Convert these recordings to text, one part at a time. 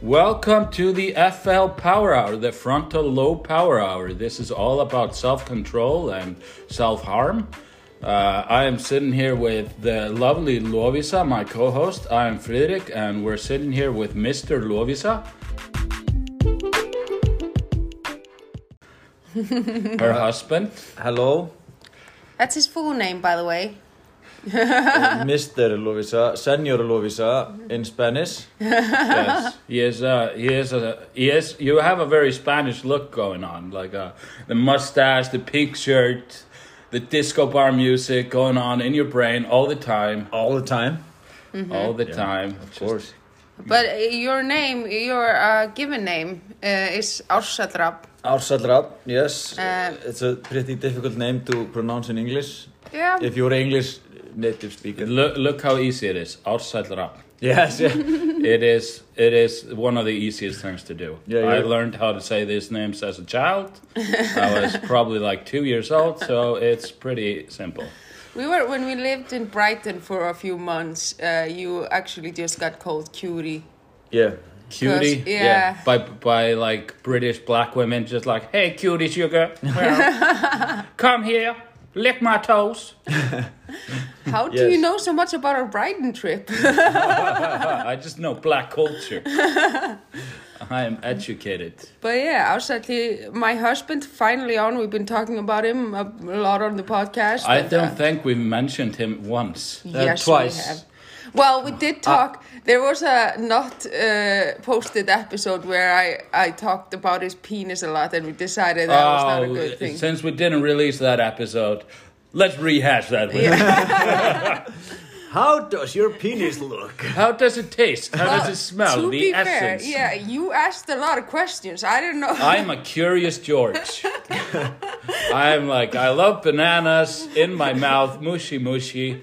Welcome to the FL Power Hour, the frontal lobe power hour. This is all about self control and self harm. Uh, I am sitting here with the lovely Lovisa, my co host. I am Friedrich, and we're sitting here with Mr. Lovisa. Her husband. Hello, That's his full name, by the way. Mr. uh, Lovisa, Senor Lovisa in Spanish. yes, he is. Uh, he is. A, he is. You have a very Spanish look going on, like uh, the mustache, the pink shirt, the disco bar music going on in your brain all the time, All the time. Mm-hmm. all the time. Of Just- course. But uh, your name, your uh, given name, uh, is Ársatrap. Arsadrap, yes. Uh, it's a pretty difficult name to pronounce in English. Yeah. If you're English native speaker. Look, look how easy it is. Outside rap. Yes, yeah. It is. It is one of the easiest things to do. Yeah, I yeah. learned how to say these names as a child. I was probably like two years old, so it's pretty simple. we were when we lived in Brighton for a few months. Uh, you actually just got called cutie. yeah. Cutie. Because- yeah. By by like British black women just like, hey cutie sugar. well, come here, lick my toes. How do you Yes. know so much about our Brighton trip? Ah, I just know black culture. I am educated. but yeah, Ársatli, my husband, finally on. We've been talking about him a lot on the podcast. I and, don't uh, think we've mentioned him once. Uh, Yes, twice. we have. Well, we Uh, did talk. there was a not uh, posted episode where I, I talked about his penis a lot, and we decided that was not a good thing. Oh, since we didn't release that episode, let's rehash that. one. How does your penis look? How does it taste? How does Well, it smell? To the be essence. fair, yeah, you asked a lot of questions. I didn't know. I'm a curious George. I'm like, I love bananas in my mouth, mushy mushy.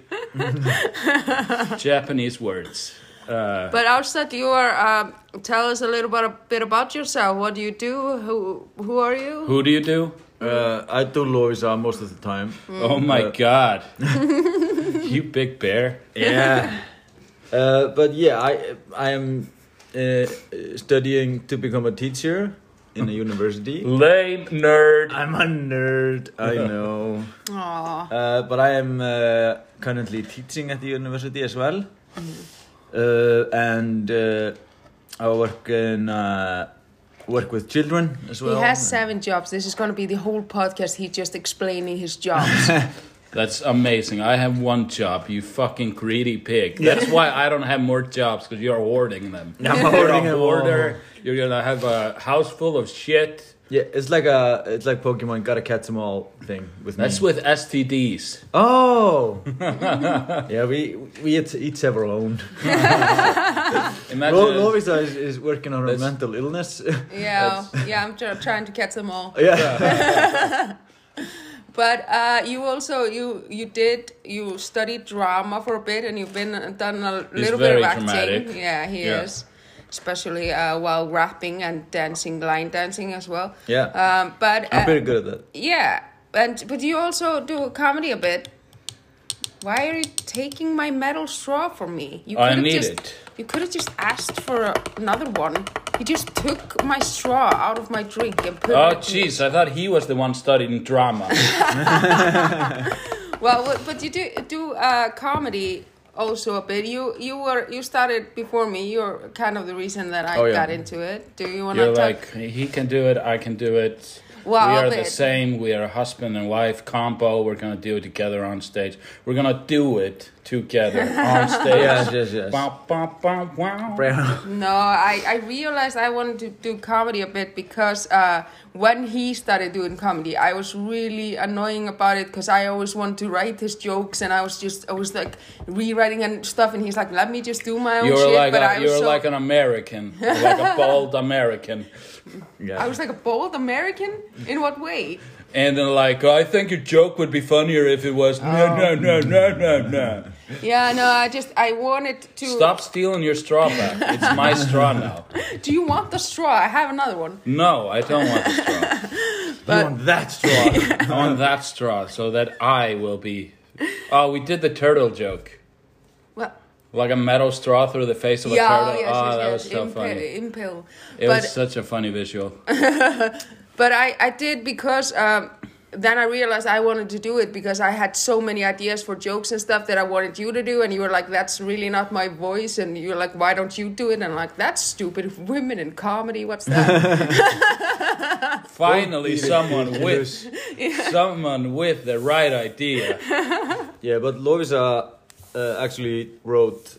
Japanese words. Uh, but outside, you are. Um, tell us a little bit, bit about yourself. What do you do? Who who are you? who do you do? Uh, I do Lovisa most of the time. Oh my Uh, god. you big bear. Yeah. uh, but yeah, I, I am uh, studying to become a teacher in a university. Lame nerd. I'm a nerd, I know. Aw. Uh, but I am uh, currently teaching at the university as well. Uh, and uh, I work in uh, work with children as well. he has seven jobs. This is going to be the whole podcast. He just explaining his jobs. That's amazing. I have one job, you fucking greedy pig. That's why I don't have more jobs because you're hoarding them. I'm You're hoarding a them all. hoarder. You're gonna have a house full of shit. Yeah, it's like a it's like Pokemon gotta catch 'em all thing with That's me. with STDs. Oh. yeah, we we each, each have our own. Imagine. Lo- Lovisa is, is working on her That's- mental illness. yeah, yeah. I'm tr- trying to catch them all. yeah. But uh, you also you you did you studied drama for a bit, and you've been uh, done a little bit very of acting. dramatic. Yeah, he Yeah. is, especially uh, while rapping and dancing, line dancing as well. Yeah. Um, but I'm uh, pretty good at that. yeah, and but you also do comedy a bit. Why are you taking my metal straw from me? You I could've need just, it. You could have just asked for another one. You just took my straw out of my drink and put Oh, it. in- jeez, I thought he was the one studying drama. Well, w- but you do do uh, comedy also a bit. You you were you started before me. You're kind of the reason that I Oh, yeah. got into it. Do you want to You're talk? like, he can do it, I can do it. Well, we are but- the same. We are husband and wife combo. We're gonna do it together on stage. We're gonna do it together on stage. Yes, yes, yes. Bow, bow, bow, wow. no, I I realized I wanted to do comedy a bit because uh, when he started doing comedy, I was really annoying about it because I always wanted to write his jokes and I was just I was like rewriting and stuff, and he's like, let me just do my own You're shit. like but I a, was you're so, like an American, You're like a bald American, Yeah. I was like a bold American. In what way? and then like I think your joke would be funnier if it was no Oh. no no no no no. Yeah, no, I just I wanted to Stop stealing your straw back. It's my straw now. Do you want the straw? I have another one. No, I don't want the straw. you want that straw. I want that straw so that I will be. Oh, we did the turtle joke. Well, like a metal straw through the face of a yeah, oh, turtle. yes, Ah, yes, that yes. was so funny. Impale, impale. It but was such a funny visual. but I, I did because um, then I realized I wanted to do it because I had so many ideas for jokes and stuff that I wanted you to do, and you were like, "That's really not my voice," and you're like, "Why don't you do it?" And I'm like, "That's stupid. Women in comedy. What's that?" Finally, Don't beat it, someone dude. with someone with the right idea. Yeah, but Lovisa uh, actually wrote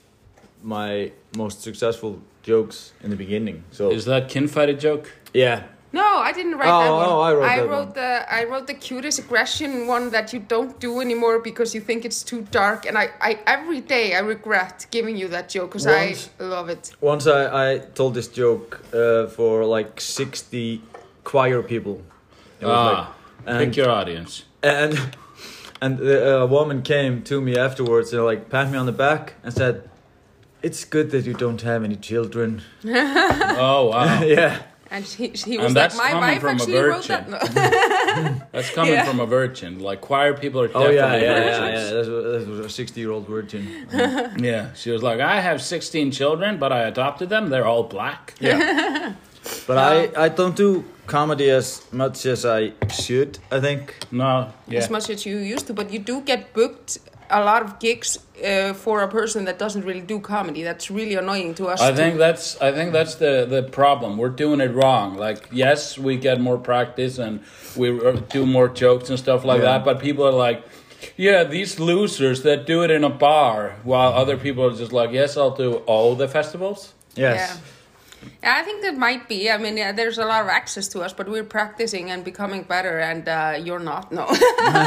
my most successful jokes in the beginning. So Is that kinfight a joke? yeah, no, I didn't write Oh, that one. oh, I wrote that wrote one. the I wrote the cutest aggression one that you don't do anymore because you think it's too dark, and I, I every day I regret giving you that joke because I Once- love it. once I, I told this joke uh, for like sixty choir people. It was Ah, like- pick and- your audience. and and the uh, woman came to me afterwards and like pat me on the back and said, "It's good that you don't have any children." Oh wow, yeah, And he, he And was like, that's "My coming wife from a actually wrote that." virgin. No. that's coming Yeah. from a virgin. Like choir people are oh definitely yeah, yeah, yeah, yeah. virgins. That was, that was a sixty-year-old virgin. yeah. she was like, I have sixteen children, but I adopted them. They're all black. Yeah. but I, Um, I don't do comedy as much as I should, I think. No, yeah. as much as you used to, but you do get booked a lot of gigs uh, for a person that doesn't really do comedy. That's really annoying to us. I too. think that's I think that's the the problem. We're doing it wrong. Like yes, we get more practice and we r- do more jokes and stuff like Yeah. that, but people are like yeah, these losers that do it in a bar, while other people are just like, yes, I'll do all the festivals. Yes. Yeah. Yeah, I think that might be. I mean, yeah, there's a lot of access to us, but we're practicing and becoming better, and uh, you're not. No,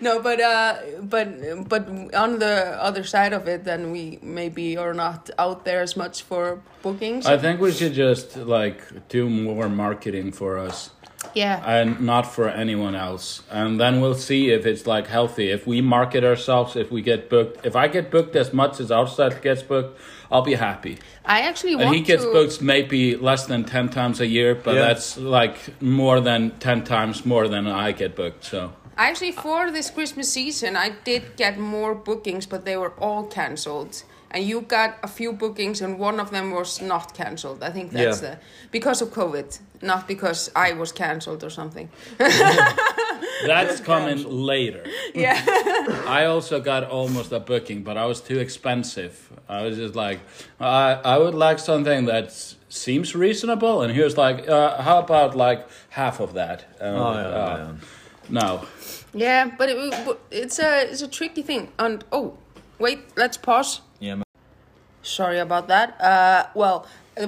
no, but uh, but but on the other side of it, then we maybe are not out there as much for bookings. I think we should just like do more marketing for us yeah, and not for anyone else. And then we'll see if it's like healthy. If we market ourselves, if we get booked, if I get booked as much as outside gets booked, I'll be happy. I actually want And he gets to. booked maybe less than 10 times a year, but Yeah. that's like more than 10 times more than I get booked. So, Actually, for this Christmas season, I did get more bookings, but they were all cancelled. And you got a few bookings, and one of them was not cancelled. I think that's Yeah. the because of COVID, not because I was cancelled or something. that's coming later. Yeah, I also got almost a booking, but I was too expensive. I was just like, I, I would like something that seems reasonable. And he was like, uh, how about like half of that? And I Oh, was yeah, like, yeah, "Oh, yeah. No. yeah, but it, but it's a it's a tricky thing. And oh, wait, let's pause. Yeah, man. Sorry about that. Uh, well,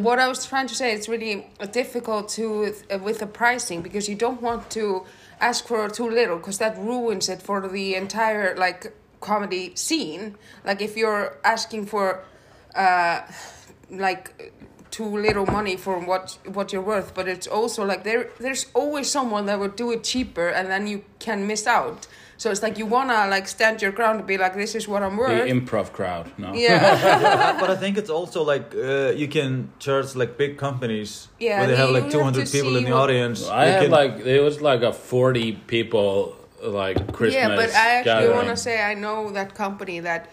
what I was trying to say, it's really difficult to with the pricing because you don't want to ask for too little because that ruins it for the entire like comedy scene. Like if you're asking for, uh, like too little money for what what you're worth, but it's also like there there's always someone that would do it cheaper, and then you can miss out. So it's like you wanna like stand your ground and be like, this is what I'm The worth. improv crowd. No. yeah. Uh, but I think it's also like uh, you can charge like big companies Yeah, where they you have have like to 200 people in see the what- audience. I You had can- like, it was like a 40 people like Christmas. Yeah, but I actually want gathering. to say I know that company that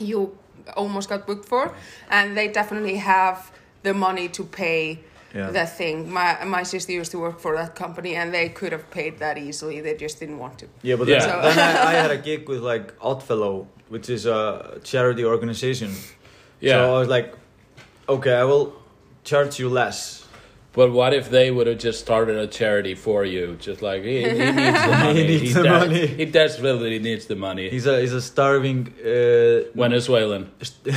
you almost got booked for, and they definitely have the money to pay Yeah. that thing. My my sister used to work for that company, and they could have paid that easily. They just didn't want to. Yeah, but then, Yeah. then I, I had a gig with like Oddfellow, which is a charity organization. So I Yeah. was like, okay, I will charge you less. But what if they would have just started a charity for you? Just like he, he needs the money. needs the des- money. He desperately needs the money. He's a he's a starving uh, Venezuelan.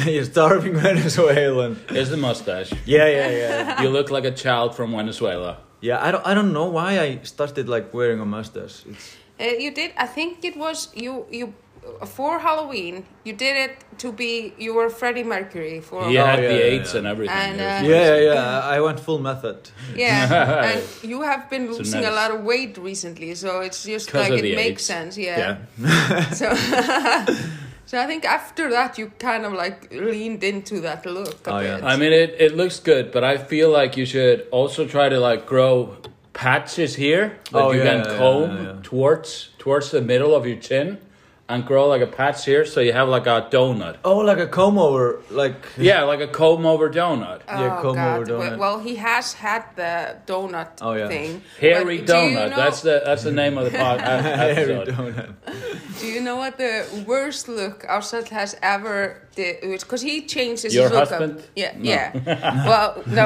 you're starving Venezuelan. Here's the mustache. Yeah, yeah, yeah. You look like a child from Venezuela. Yeah, I don't, I don't know why I started like wearing a mustache. It's, Uh, you did. I think it was you. You for Halloween. You did it to be. You were Freddie Mercury for. He Oh, had yeah, the yeah, AIDS yeah. and everything. And, It was uh, crazy. yeah, yeah, yeah. I went full method. Yeah, and you have been losing a nice. lot of weight recently, so it's just 'Cause like of it the makes AIDS. sense. So, so I think after that you kind of like leaned into that look. A Oh, yeah. bit. I mean, it, it looks good, but I feel like you should also try to like grow patches here that Oh, you yeah, can yeah, comb yeah, yeah. towards towards the middle of your chin. and grow like a patch here, so you have like a donut. Oh, like a comb over, like Yeah, like a comb over donut. Yeah, oh comb God! over donut. Well, well, he has had the donut Oh, yeah. thing. Hairy but do you donut. know- That's the that's the name of the pod, hairy episode. donut. Do you know what the worst look Arsat has ever did? Because he changes Your his look husband? up. Yeah, yeah. well, no,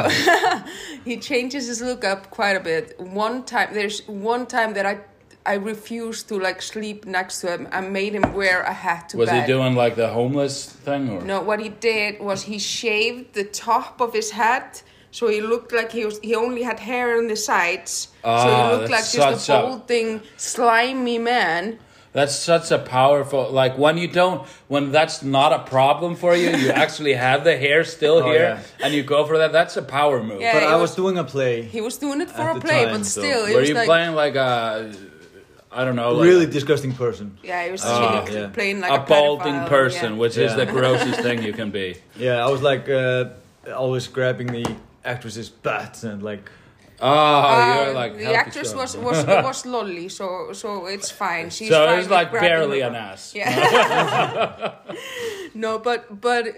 he changes his look up quite a bit. One time, there's one time that I, I refused to like sleep next to him. I made him wear a hat to Was bed. he doing like the homeless thing or? No, what he did was he shaved the top of his head, so he looked like he was he only had hair on the sides. so Ah, he looked like that's just such a a- balding, slimy man. That's such a powerful like when you don't when that's not a problem for you, you actually have the hair still Oh, here yeah. and you go for that. That's a power move. Yeah. But it I was was- doing a play, He was doing it for At a the play, time, but so still, it Were was you like playing like a I don't know like really disgusting person. yeah, he was Ah, sh- yeah. playing like a, a, balding pedophile, person, yeah. which is Yeah. the grossest thing you can be. Yeah, I was like uh, always grabbing the actress's butt and like Oh, Uh, you're like the healthy actress stuff. was was it was lolly, so so it's fine. She's so fine it was with like grabbing barely her. an ass. Yeah. no, but but uh,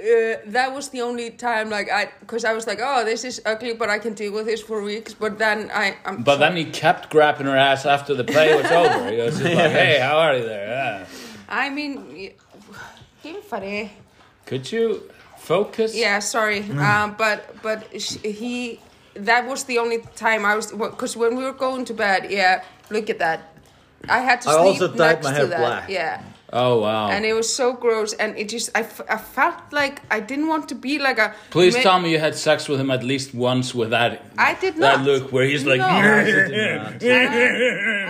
that was the only time like I because I was like, oh, this is ugly, but I can deal with this for weeks. But then I, I'm But then he kept grabbing her ass after the play was over. He was just like, "Hey, how are you there?" Yeah. I mean, Himfari. Could you focus? Yeah, sorry. Um, but but sh- he that was the only time I was because when we were going to bed, yeah, look at that. I had to I sleep also dyed next my to hair that. black. Yeah. Oh wow. And it was so gross, and it just I, f- I felt like I didn't want to be like a. Please ma- tell me you had sex with him at least once with that I did that not. look where he's like, No. yeah,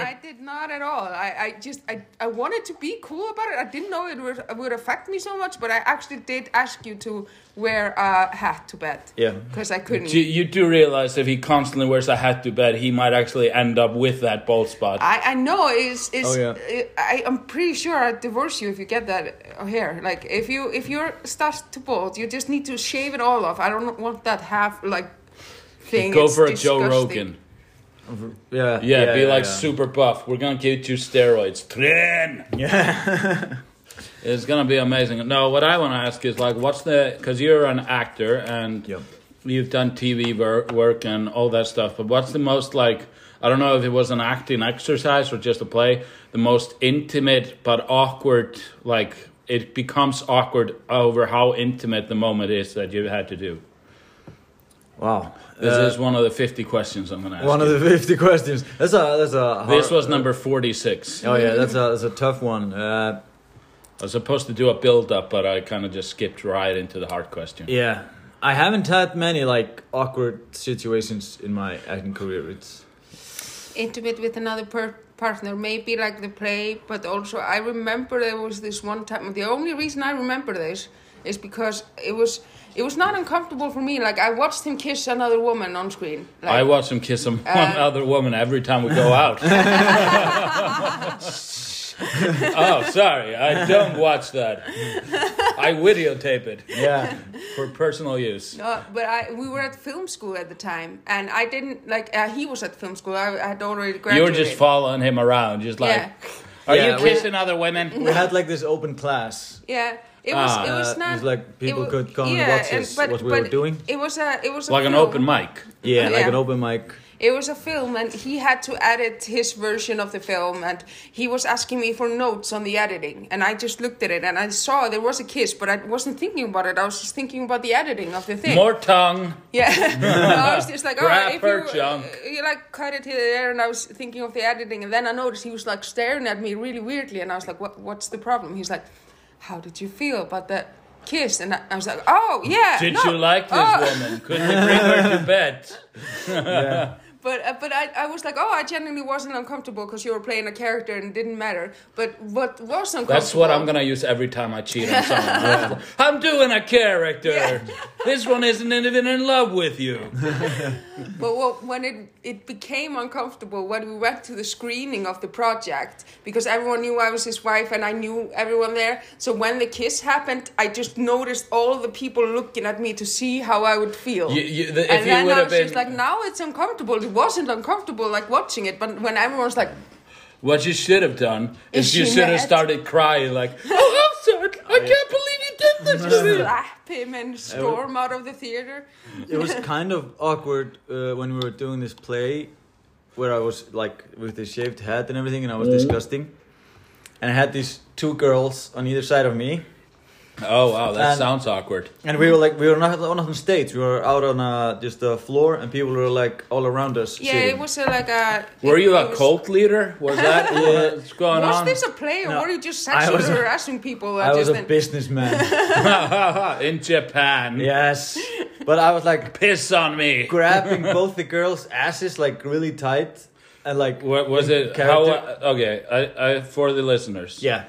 I did not at all. I, I just I, I wanted to be cool about it. I didn't know it would, would affect me so much, but I actually did ask you to wear a hat to bed. Yeah. Because I couldn't. Do- you do realize if he constantly wears a hat to bed, he might actually end up with that bald spot. I, I know it's Oh, it's yeah. I, I'm pretty sure I'd divorce you if you get that hair. Like if you if you're starts to bald, you just need to shave it all off. I don't want that half like thing. Go It's for a Joe disgusting. Rogan. yeah, Yeah, be like yeah. super buff. We're gonna give you steroids. Train. Yeah. it's gonna be amazing. No, what I want to ask is like, what's the? Because you're an actor and Yep. you've done TV wor- work and all that stuff. But what's the most like? I don't know if it was an acting exercise or just a play. The most intimate but awkward. Like it becomes awkward over how intimate the moment is that you had to do. Wow. This Uh, is one of the fifty questions I'm gonna ask. one of Uh, the fifty questions. That's a that's a. Hard, this was number forty-six. Oh yeah, that's a that's a tough one. Uh, I was supposed to do a build up, but I kind of just skipped right into the hard question. yeah, I haven't had many like awkward situations in my acting career. It's intimate with another per- partner, maybe like the play, but also I remember there was this one time. The only reason I remember this is because it was it was not uncomfortable for me. Like I watched him kiss another woman on screen. Like, uh, I watch him kiss some one other woman every time we go out. oh, sorry. I don't watch that. I videotape it yeah, for personal use. No, but I we were at film school at the time, and I didn't like. Uh, he was at film school. I, I had already you were graduated. just following him around, just like, Yeah. are Yeah, you we- kissing other women? we had like this open class. Yeah, it was. it Ah. Uh, was it not. was like people wa- could come and watch us, what we were doing. It was a. It was a Like an film. open mic. Yeah, like Yeah. an open mic. It was a film, and he had to edit his version of the film, and he was asking me for notes on the editing, and I just looked at it, and I saw there was a kiss, but I wasn't thinking about it. I was just thinking about the editing of the thing. More tongue. Yeah, I was just like, all Grab right, if her you, uh, junk. you like cut it here there, and I was thinking of the editing, and then I noticed he was like staring at me really weirdly, and I was like, what, what's the problem? He's like, how did you feel about that kiss? And I, I was like, oh yeah, Did no, you like this oh." woman? Could you bring her to bed? But uh, but I, I was like, oh, I genuinely wasn't uncomfortable because you were playing a character and it didn't matter. But what was uncomfortable? That's what I'm gonna use every time I cheat on someone. I'm doing a character. This one isn't even in love with you. But what, when it, it became uncomfortable, when we went to the screening of the project, because everyone knew I was his wife and I knew everyone there. So when the kiss happened, I just noticed all the people looking at me to see how I would feel. You- you- the- if and you then would I have was just been- like, now it's uncomfortable. It wasn't uncomfortable like watching it, but when everyone's like, What you should have done Is is, you she should have mad? started crying like, "Oh, I'm sorry. I can't believe you did this to me." Slap him and storm out of the theater. it was kind of awkward uh, when we were doing this play where I was like with the shaved head and everything and I was disgusting. And I had these two girls on either side of me. Oh wow, that And- sounds awkward. And we were like, we were not, not on stage, we were out on uh, just the floor and people were like all around us. Yeah, sitting. it was uh, like a. Were it- you it a was- cult leader? Was that what's going Was on? this a play or No, were you just I sexually was a- harassing people? uh, I was just a then? businessman. In Japan, yes. But I was like piss on me. grabbing both the girls' asses like really tight and like. What was in it? How, uh, character. okay, I, I, for the listeners, Yeah.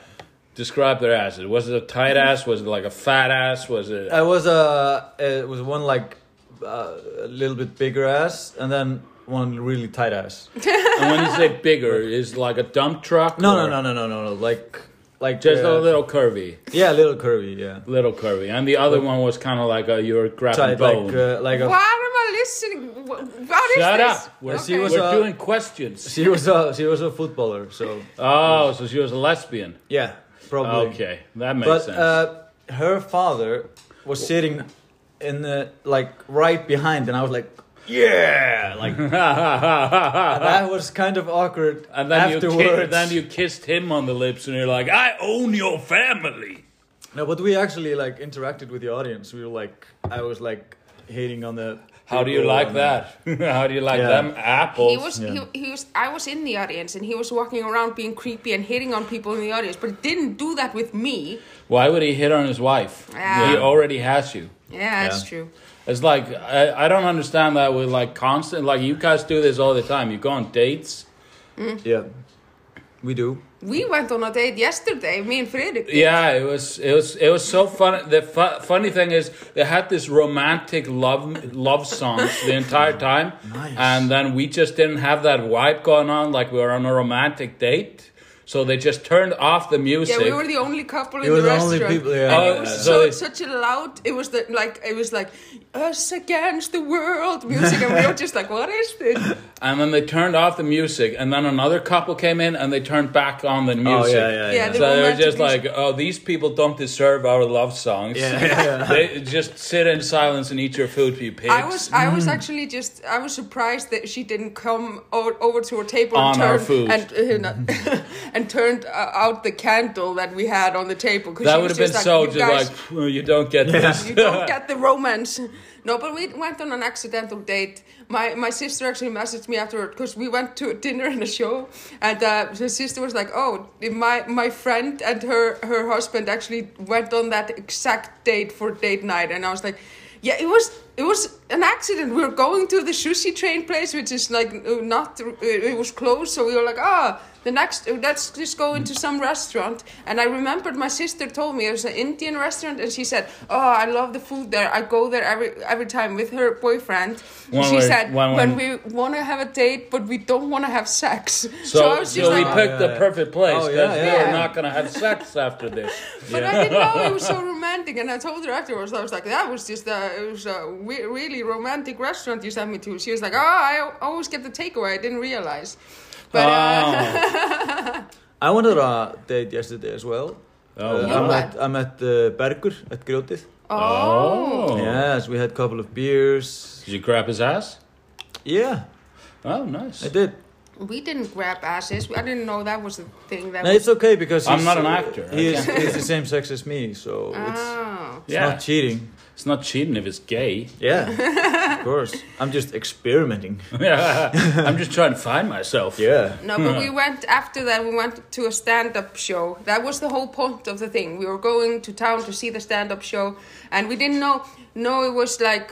describe their asses. Was it a tight ass? Was it like a fat ass? Was it? I was uh, it was one like uh, a little bit bigger ass, and then one really tight ass. and when you say bigger, is it like a dump truck? No, no, or no, no, no, no, no. Like, like Just a uh, little curvy, Yeah, a little curvy. Yeah, little curvy. And the other one was kind of like a you're grabbing tight. bone. Like, uh, like Why am a, I listening? Wh- What is Shut this? up! We're, She was we're a- doing questions. she was a she was a footballer. So uh, Oh, so she was a lesbian. yeah, probably. Okay, that makes but sense. uh, her father was sitting in the like right behind, and I was like. Ah. Yeah, like that was kind of awkward. and then you, afterwards, ki- then you kissed him on the lips, and you're like, "I own your family." No, but we actually like interacted with the audience. We were like, I was like hating on the. How do you people like and- that? How do you like Yeah. them apples? He was, he, he was. I was in the audience, and he was walking around being creepy and hitting on people in the audience, but he didn't do that with me. Why would he hit on his wife? Yeah. He already has you. Yeah, that's Yeah. true. It's like I, I don't understand that with like constant like you guys do this all the time. You go on dates. Yeah, we do. We went on a date yesterday, me and Fredrik. Yeah, it was it was it was so fun. The fu- funny thing is they had this romantic love love songs the entire time, Nice. and then we just didn't have that vibe going on like we were on a romantic date. So they just turned off the music. Yeah, we were the only couple in were the, the only restaurant. people, yeah. And Oh, it was so so, they- such a loud. It was the, like it was like us against the world music, and we were just like, what is this? and then they turned off the music, and then another couple came in and they turned back on the music. Oh yeah, yeah, Yeah, yeah. the So they were romantic just music. like, oh, these people don't deserve our love songs. Yeah, yeah, yeah. they just sit in silence and eat your food, you pigs. I was I "Mm." was actually just I was surprised that she didn't come o- over to our table and On our turned food. and uh, you know, and turned uh, out the candle that we had on the table because that would have been so like, just you guys, like, "Phew, you don't get this. you don't get the romance. No, but we went on an accidental date. My my sister actually messaged me afterward because we went to dinner and a show, and uh, her sister was like, "Oh, my my friend and her her husband actually went on that exact date for date night," and I was like. Yeah, it was it was an accident. We were going to the sushi train place, which is like uh, not uh, it was closed. So we were like, ah, the next uh, let's just go into some restaurant. And I remembered my sister told me it was an Indian restaurant, and she said, oh, I love the food there. I go there every every time with her boyfriend. One she way- said one way. when we want to have a date, but we don't want to have sex. So, I was so just we like, picked Yeah, the yeah. perfect place. Oh, yeah, 'cause yeah. We're not going to have sex after this. But I didn't know it was so romantic, and I told her afterwards. I was like, "That was just a, it was a we- really romantic restaurant you sent me to." She was like, "Oh, I always get the takeaway. I didn't realize." But uh, Oh. I went on a date yesterday as well. Oh, uh, wow. I met I met uh, Bergur at Grjótið. oh, Yes, we had a couple of beers. Did you grab his ass? Yeah, Oh, nice. I did. we didn't grab asses. I didn't know that was a thing that. No, was, it's okay because I'm he's- not an actor. He I is, can't- he's the same sex as me, so it's, oh. it's yeah. not cheating. it's not cheating if it's gay. Yeah, of course. I'm just experimenting. I'm just trying to find myself. Yeah. No, but Hmm. we went after that. We went to a stand-up show. That was the whole point of the thing. We were going to town to see the stand-up show, and we didn't know. No, it was like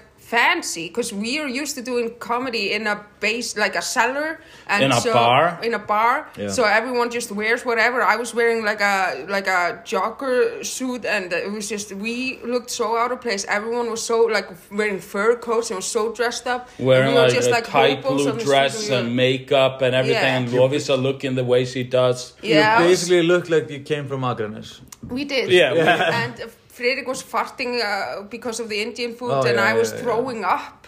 fancy because we are used to doing comedy in a base, like a cellar, and In a so, bar? In a bar. Yeah. So everyone just wears whatever. I was wearing like a like a jogger suit, and it was just we looked so out of place. Everyone was so like wearing fur coats and was so dressed up. and Wearing we were like a tight hobos on blue the street, dress we were- and makeup and Yeah. everything. Lovisa looking the way she does. yeah, I You was- basically look like you came from Akranes. We did. Yeah, we Yeah. And Fredrik was farting uh, because of the Indian food, Oh, and yeah, I was yeah, yeah. throwing up.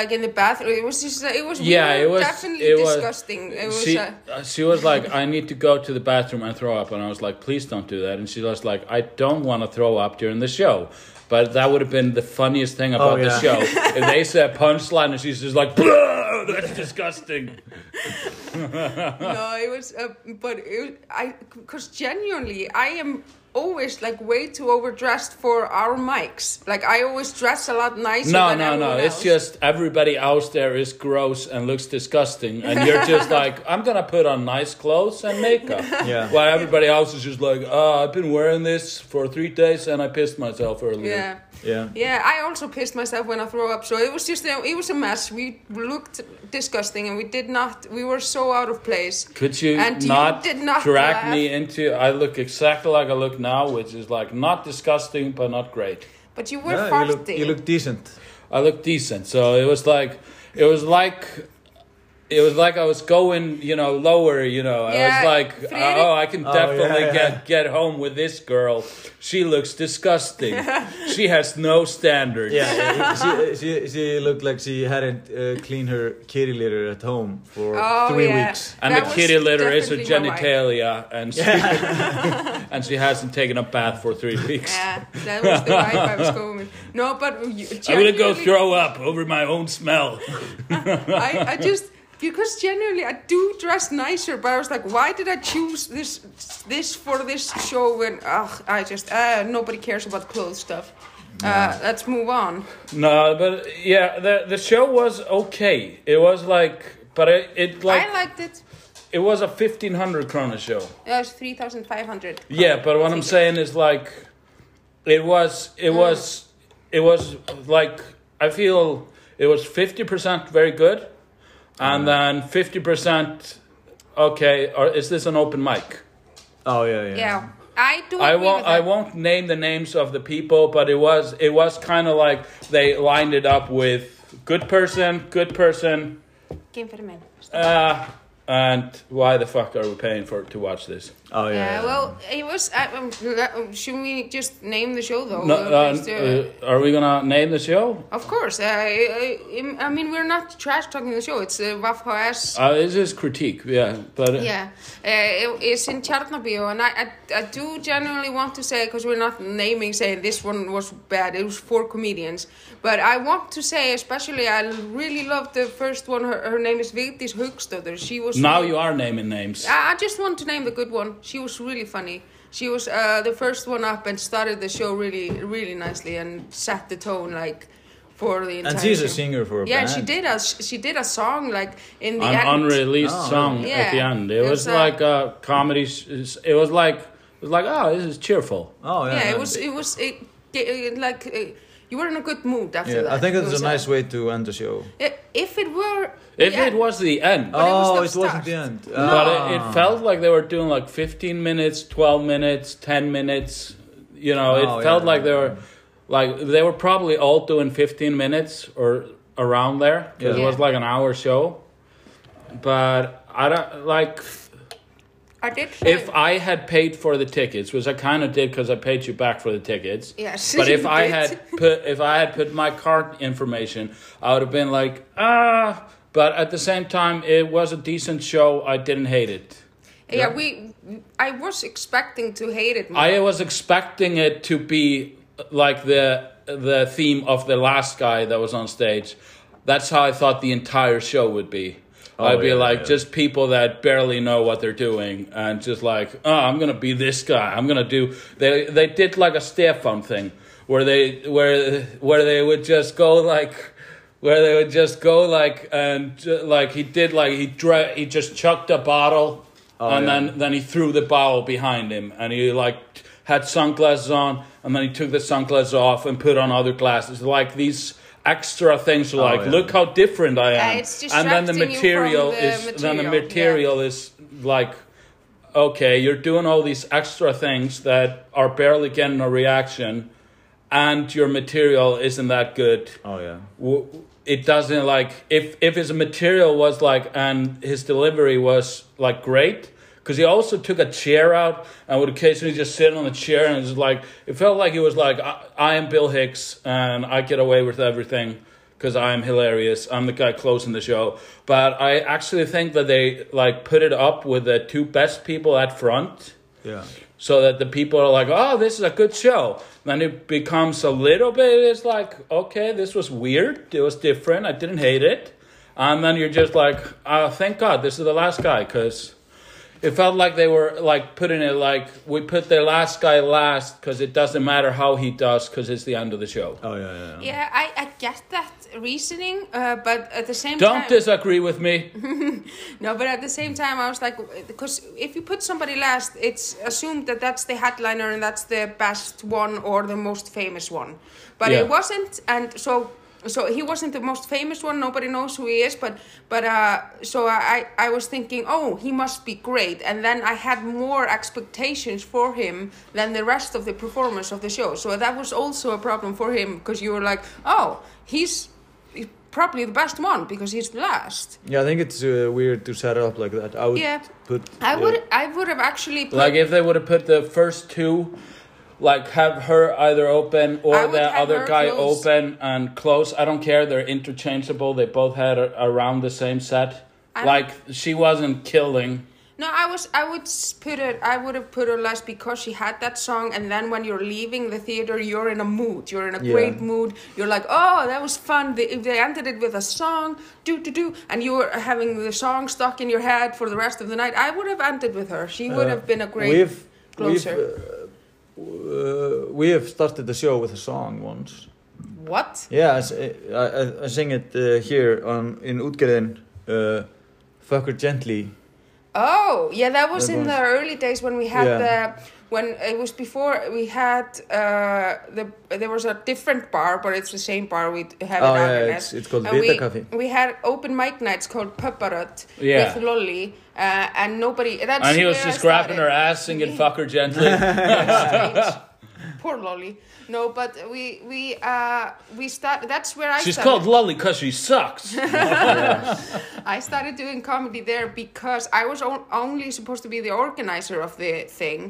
like in the bathroom. It was just it was Yeah, weird, it was- definitely it was- disgusting. it was she, uh, uh, she was like, I need to go to the bathroom and throw up. And I was like, please don't do that. And she was like, I don't want to throw up during the show. But that would have been the funniest thing about the Oh, yeah. show. if they said punchline and she's just like, "Bruh, that's disgusting. no, it was, uh, but it, I, because genuinely, I am always like way too overdressed for our mics. Like I always dress a lot nicer. No, than no, no. everyone It's else. just everybody else there is gross and looks disgusting. And you're just like, I'm going to put on nice clothes and makeup. Yeah. While everybody else is just like, oh, I've been wearing this for three days and I pissed myself earlier. yeah. Yeah. Yeah, I also pissed myself when I throw up. So it was just a, it was a mess. We looked disgusting, and we did not. We were so out of place. Could you And you not, did not drag laugh. me into? I look exactly like I look now, which is like not disgusting but not great. But you were No, farting. you, look, you look decent. I look decent, so it was like, it was like, it was like I was going, you know, lower. You know, Yeah, I was like, Friedrich- oh, I can Oh, definitely yeah, yeah. get get home with this girl. She looks disgusting. she has no standards. Yeah, she, she, she looked like she hadn't uh, cleaned her kitty litter at home for Oh, three yeah. weeks. And That the was kitty litter is her definitely my wife. genitalia, and she, and she hasn't taken a bath for three weeks. Yeah, that was the vibe I was going with. No, but you, I'm gonna go genuinely- throw up over my own smell. I, I just because genuinely I do dress nicer, but I was like, why did I choose this this for this show? When ugh, I just uh, nobody cares about clothes stuff. Uh, let's move on. no, but yeah, the the show was okay. It was like, but it, it like I liked it. it was a fifteen hundred krona show. It was Uh, three thousand five hundred. Yeah, but what I'm saying is like, it was it was it was like I feel it was fifty percent very good, and then fifty percent okay. Or is this an open mic? Oh, yeah, yeah. Yeah, I do. I agree won't. with that. I won't name the names of the people, but it was. It was kind of like they lined it up with good person, good person, Game for the men. uh, and why the fuck are we paying for to watch this? Oh, yeah. Yeah, yeah. well, it was. I, um, uh, should we just name the show though? No, Or uh, just, uh, uh, are we gonna name the show? of course. Uh, I, I, I mean, we're not trash talking the show. It's uh, Wafha S Uh, this is critique, yeah, but Yeah, uh, it- it's in Tjarnabíó, and I, I, I do genuinely want to say because we're not naming saying this one was bad. It was four comedians, but I want to say especially I really loved the first one. Her, her name is Vigdís Hauksdóttir. She was now you are naming names. I, I just want to name the good one. She was really funny. She was uh, the first one up and started the show really, really nicely and set the tone like for the entire. and she's a show. singer for a Yeah, band. she did a she did a song like in the An end. unreleased Oh, song really? at the Yeah, uh, end. It it's was a- like a comedy. Sh- it was like it was like oh, this is cheerful. Oh, yeah. yeah, it was it was it, it, like uh, you were in a good mood after Yeah, that. I think It it's was, a uh, nice way to end the show. i- If it were, If yeah, it was the end, it was oh, not it wasn't start. the end. But it, Ah. it felt like they were doing like 15 minutes, 12 minutes, 10 minutes. You know, Oh, it felt yeah, like they yeah. were like they were probably all doing 15 minutes or around there because it Yeah. was like an hour show. But I don't like I did. if try. I had paid for the tickets, which I kind of did because I paid you back for the tickets. Yes, But if you I did. had put if I had put my card information, I would have been like ah. But at the same time, it was a decent show. I didn't hate it. yeah, we, I was expecting to hate it. More. I was expecting it to be like the the theme of the last guy that was on stage. That's how I thought the entire show would be. Oh, I'd be yeah, like yeah. just people that barely know what they're doing and just like, oh, I'm gonna be this guy. I'm gonna do. They they did like a Stefan thing where they where where they would just go like. Where they would just go like and ju- like he did like he dra- he just chucked a bottle Oh, and yeah. then then he threw the bottle behind him and he like t- had sunglasses on and then he took the sunglasses off and put on other glasses like these extra things are like Oh, yeah. look how different i am Yeah, it's and then the distracting you from material the is then the material, yeah. material is like okay you're doing all these extra things that are barely getting a reaction and your material isn't that good Oh, yeah. w- it doesn't like if if his material was like and his delivery was like great because he also took a chair out and would occasionally just sit on a chair and it's like it felt like he was like I, I am Bill Hicks and I get away with everything because I'm hilarious. I'm the guy closing the show. But I actually think that they like put it up with the two best people at front Yeah. so that the people are like, oh, this is a good show. Then it becomes a little bit, it's like, okay, this was weird. It was different. I didn't hate it. And then you're just like, oh, thank God, this is the last guy. Because it felt like they were like putting it like, we put the last guy last because it doesn't matter how he does because it's the end of the show. Oh yeah, yeah. yeah. Yeah, I, I get that reasoning, uh, but at the same Don't time, disagree with me. no, but at the same time, I was like, because if you put somebody last, it's assumed that that's the headliner and that's the best one or the most famous one, but Yeah. it wasn't, and so so he wasn't the most famous one. Nobody knows who he is, but but uh, so I I was thinking, oh, he must be great, and then I had more expectations for him than the rest of the performers of the show. So that was also a problem for him because you were like, oh, he's. he's Probably the best one because he's last. I think it's uh, weird to set up like that. I would Yeah. put. I uh, would I would have actually put, Like if they would have put the first two, like have her either open I or would the have other her guy close. open and close. I don't care. They're interchangeable. They both had a, around the same set. I- like she wasn't killing. no I was I would s- put it I would have put her last because she had that song and then when you're leaving the theater you're in a mood you're in a Yeah. great mood you're like oh that was fun they, if they ended it with a song do do do and you were having the song stuck in your head for the rest of the night I would have ended with her she would uh, have been a great We've closer. we've uh, uh, we have started the show with a song once. what Yeah, I s- eh, I, I, I sing it uh, here on in Utgerðin. Uh, fuck her gently. Oh, yeah, that was That in the early days when we had Yeah. the when it was before we had uh the there was a different bar, but it's the same bar we have Oh, in yeah, Akranes. it's- it's called And Vita we- Cafe. We had open mic nights called Pupparot Yeah. with Lolly, uh, and nobody. That's And he was where I just grabbing started. her ass, singing "Fuck her gently." Strange. Poor Lolly. No, but we we uh we start. That's where I. She's started. called Lolly because she sucks. I started doing comedy there because I was on, only supposed to be the organizer of the thing.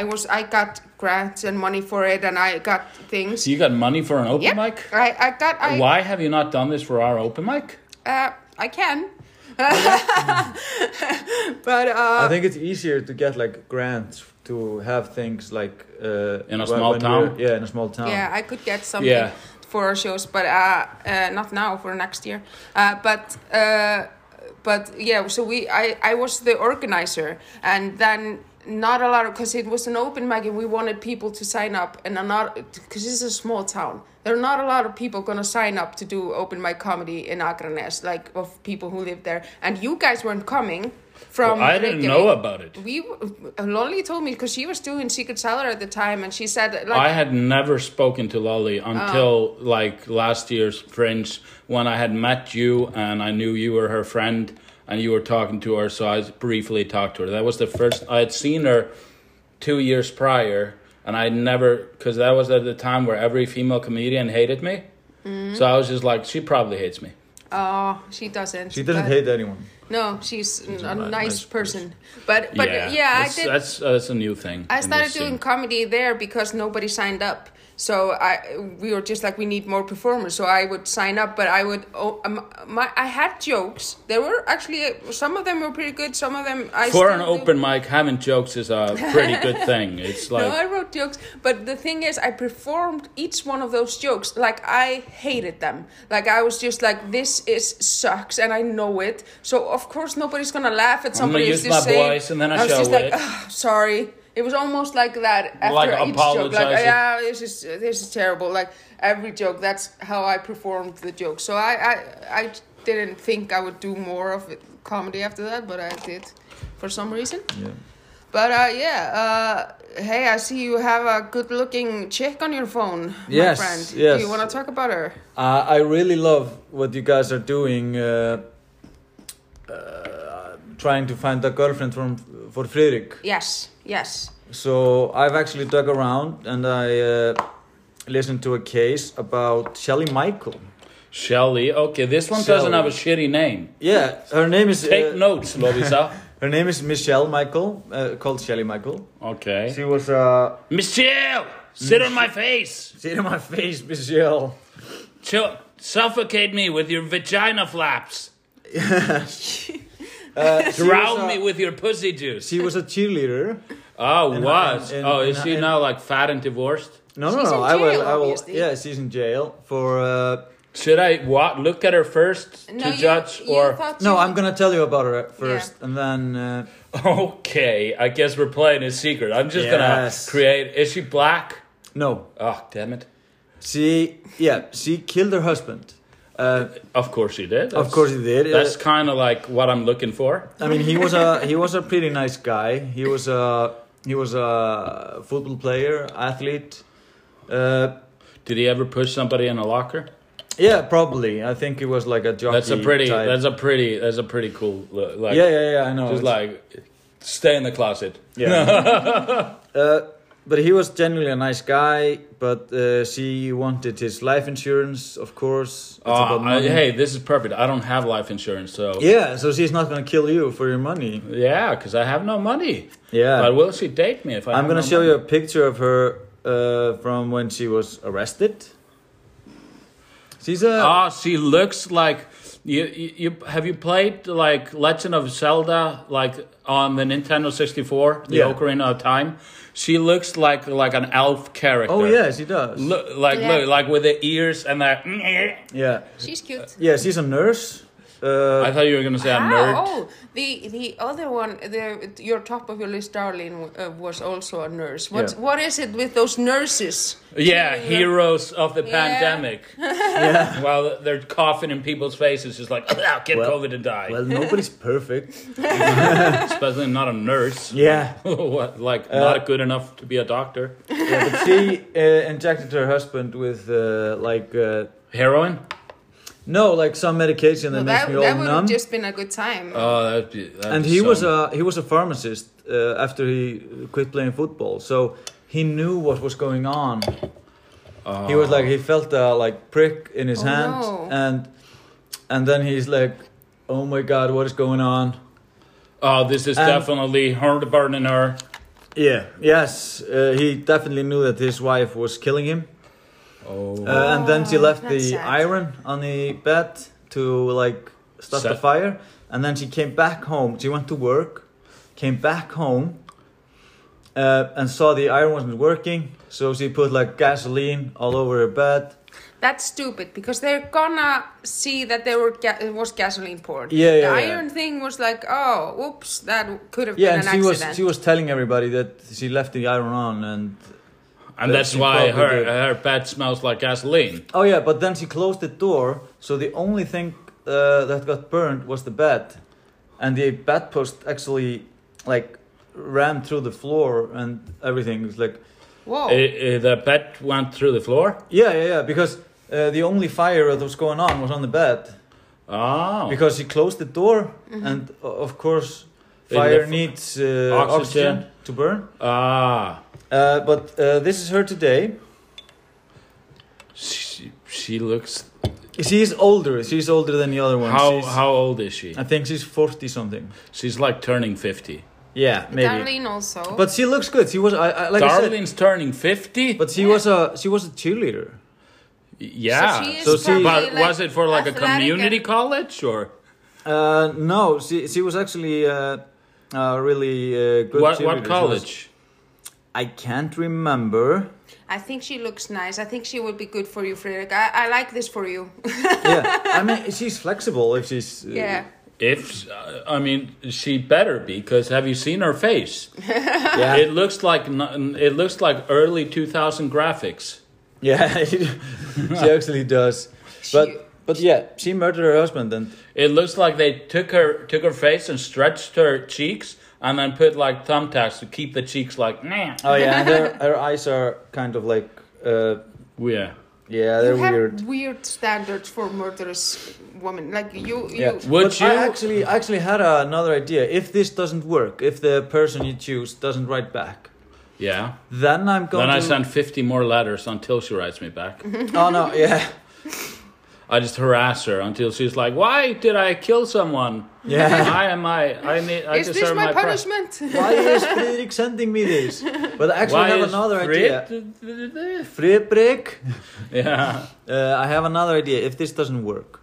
I was I got grants and money for it, and I got things. so you got money for an open Yep. mic? I I got I Why have you not done this for our open mic? uh I can. but I uh, think it's easier to get like grants to have things like uh, In a wh- small when town? you're- Yeah, in a small town. yeah, I could get something Yeah. for our shows, but uh, uh not now for next year. Uh, but uh, but yeah, so we I I was the organizer, and then not a lot of because it was an open mic and we wanted people to sign up and I'm not because this is a small town there are not a lot of people gonna sign up to do open mic comedy in Akranes like of people who live there and you guys weren't coming from I didn't Reykjavík. know about it. we uh, Lolly told me because she was doing Secret Cellar at the time and she said like Oh. I had never spoken to Lolly until like last year's Fringe when I had met you and I knew you were her friend and you were talking to her, so I briefly talked to her. That was the first I had seen her two years prior, and I never because that was at the time where every female comedian hated me. Mm-hmm. So I was just like, she probably hates me. Oh, she doesn't. She doesn't but- hate anyone. No, she's, a ni- nice, nice person. But but yeah, I that's, did. That's that's a new thing. I in started this scene. doing comedy there because nobody signed up. So I we were just like we need more performers. So I would sign up, but I would oh, um, my I had jokes. There were actually uh, some of them were pretty good. Some of them I for an still do. open mic. Having jokes is a pretty good thing. It's like No, I wrote jokes, but the thing is, I performed each one of those jokes like I hated them. Like I was just like, "This is sucks," and I know it. So of course, nobody's gonna laugh at somebody who's use just my saying. voice and then I was shall just like, wit. "Ugh, "Sorry." It was almost like that after Like each joke. Like, apologizing. yeah, this is this is terrible. Like every joke, that's how I performed the joke. So I I, I didn't think I would do more of it, comedy after that, but I did, for some reason. Yeah. But uh, yeah, uh, hey, I see you have a good-looking chick on your phone, Yes, my friend. yes. Do you want to talk about her? Uh, I really love what you guys are doing. Uh, uh, trying to find a girlfriend from for Friedrich. Yes, yes. So I've actually dug around and I uh, listened to a case about Shelley Michael. Shelly. Okay, this one doesn't Shelley. have a shitty name. Yeah, her name is Take uh, notes, Lovisa. her name is Michelle Michael, uh, called Shelley Michael. Okay. She was uh, Michelle, sit on my face. see it in my face, Michelle. Chill, suffocate me with your vagina flaps. Uh, she was Drown a- me with your pussy juice. She was a cheerleader. oh, in- was. in- oh, in- is she in- now like fat and divorced? No, She's no, no. in I will. jail, I will. obviously. Yeah, she's in jail for. Uh, Should I what, look at her first to judge, or thought no, you- I'm gonna tell you about her first, and then. Uh, okay? I guess we're playing a secret. I'm just Yes. gonna create. Is she black? no, Oh, damn it! she. Yeah, she killed her husband. Uh, Of course she did. of course, he did. Uh, That's kind of like what I'm looking for. I mean, he was a he was a pretty nice guy. He was a he was a football player, athlete. Uh, Did he ever push somebody in a locker? yeah, probably. I think he was like a jockey. That's a pretty. type. That's a pretty. That's a pretty cool. look, Like, yeah, yeah, yeah. I know. Just It's- like stay in the closet. Yeah. uh, but he was generally a nice guy. But uh, she wanted his life insurance, of course. It's Uh, about I- money. hey, this is perfect. I don't have life insurance, so Yeah, so she's not gonna kill you for your money. yeah, because I have no money. Yeah. But will she date me if I? I'm have no gonna show money? you a picture of her uh, from when she was arrested. She's a Ah, she looks like you, you. You have you played like Legend of Zelda like on the Nintendo 64, the Yeah. Ocarina of Time? She looks like like an elf character. Oh yeah, she does. Look, like Yeah. look, like with the ears and the. Yeah, She's cute. yeah, she's a nurse. Uh, I thought you were gonna say a nerd. Ah, oh, the the other one, the your top of your list, darling, uh, was also a nurse. What Yeah. what is it with those nurses? Yeah, Killing them. heroes of the Yeah. pandemic. While they're coughing in people's faces, just like, get Well- COVID and die. well, nobody's perfect. Especially not a nurse. Yeah, Uh, what, like, not good enough to be a doctor. yeah but she uh, injected her husband with uh, like uh, Heroin? no, like some medication that Well, makes that me all that would have numb. just been a good time. Oh, that'd be, that'd and be he so- was a he was a pharmacist uh, after he quit playing football, so he knew what was going on. He was like he felt a like prick in his Oh, hand, no. and and then he's like, "Oh my God, what is going on?" Oh, this is And- definitely her burning her. Yeah. Yes, uh, he definitely knew that his wife was killing him, Oh. uh, and then she Oh, left the that's sad. iron on the bed to like start the Sad. fire, and then she came back home. She went to work, came back home, uh, and saw the iron wasn't working, so she put like gasoline all over her bed. That's stupid because they're gonna see that there were ga- it was gasoline poured. Yeah, yeah, The yeah. iron thing was like, oh, whoops, that could have Yeah, been and an she accident. was she was telling everybody that she left the iron on, and And that's She why her, probably did. her bed smells like gasoline. oh yeah, but then she closed the door, so the only thing uh, that got burned was the bed, and the bed post actually like rammed through the floor and everything. It's like Whoa. Eh, eh, the bed went through the floor. yeah, yeah, yeah, because uh, the only fire that was going on was on the bed Oh. because she closed the door, and uh, of course, In the fire f- needs uh, Oxygen. oxygen to burn. ah. Uh, but uh, this is her today. She, she looks. She's older. She's older than the other one. How, She's- how old is she? I think she's forty something. She's like turning 50. Yeah, maybe. Darlene also. But she looks good. She was I, I like I said. Darlene's turning 50? But she was a she was a cheerleader. yeah. So she is So she- probably, but like, was it for like a athletic community and- college or Uh, no, she she was actually uh, uh, really uh, good. what, cheerleader. She what was- college? I can't remember. I think she looks nice. I think she would be good for you, Frederick. I, I like this for you. yeah, I mean she's flexible if she's. Uh, yeah. If uh, I mean, she better be because have you seen her face? Yeah. It looks like n- it looks like early 2000 graphics. yeah. she actually does. She- But but yeah, she murdered her husband and It looks like they took her took her face and stretched her cheeks and then put like thumbtacks to keep the cheeks like nah. oh yeah, and her, her eyes are kind of like uh, Yeah. yeah, You they're have weird. weird standards for murderous women. Like you, you. Yeah. Would but I you- actually I actually had another idea. If this doesn't work, if the person you choose doesn't write back, Yeah. then I'm going Then I to Mm-hmm. send 50 more letters until she writes me back. Oh no, yeah. I just harass her until she's like, "Why did I kill someone? Yeah. Why am I? I need. I Is this deserve my pri- punishment? Why is Friedrich sending me this? But I actually Why have is another idea. Frit- Friedrich, Yeah, uh, I have another idea. If this doesn't work,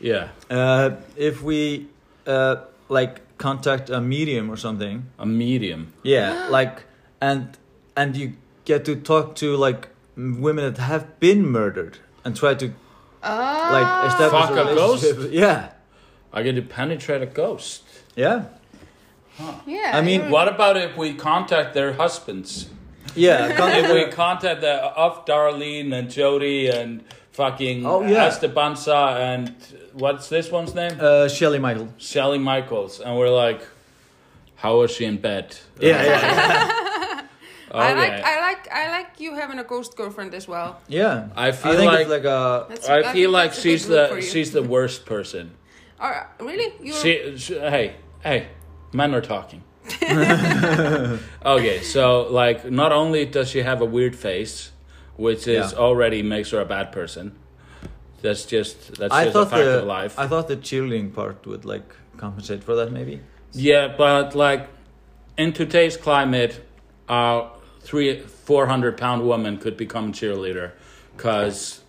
yeah. uh, if we uh, like contact a medium or something, A medium. yeah, like and and you get to talk to like m- women that have been murdered and try to like Ah, establish Fuck a relationship. Yeah, I get to penetrate a ghost. yeah, yeah. I mean, you're- What about if we contact their husbands? yeah. if we Contact, contact the of Darlene and Jody and fucking Oh, yeah. Estebanza and what's this one's name? uh, Shelley Michael. Sally Michaels, and we're like, how is she in bed? Yeah, yeah, I Okay. like, I like, I like you having a ghost girlfriend as well. yeah. I feel think like- it's like a That's, I that- feel like that's a good she's look for the you. she's the worst person. All right, really? You're, She, she, hey, hey, men are talking. okay, so like, not only does she have a weird face, which is Yeah. already makes her a bad person. That's just that's I just a thought fact the of life. I thought the cheerleading part would like compensate for that maybe. yeah, but like, in today's climate, a three four hundred pound woman could become cheerleader, cause.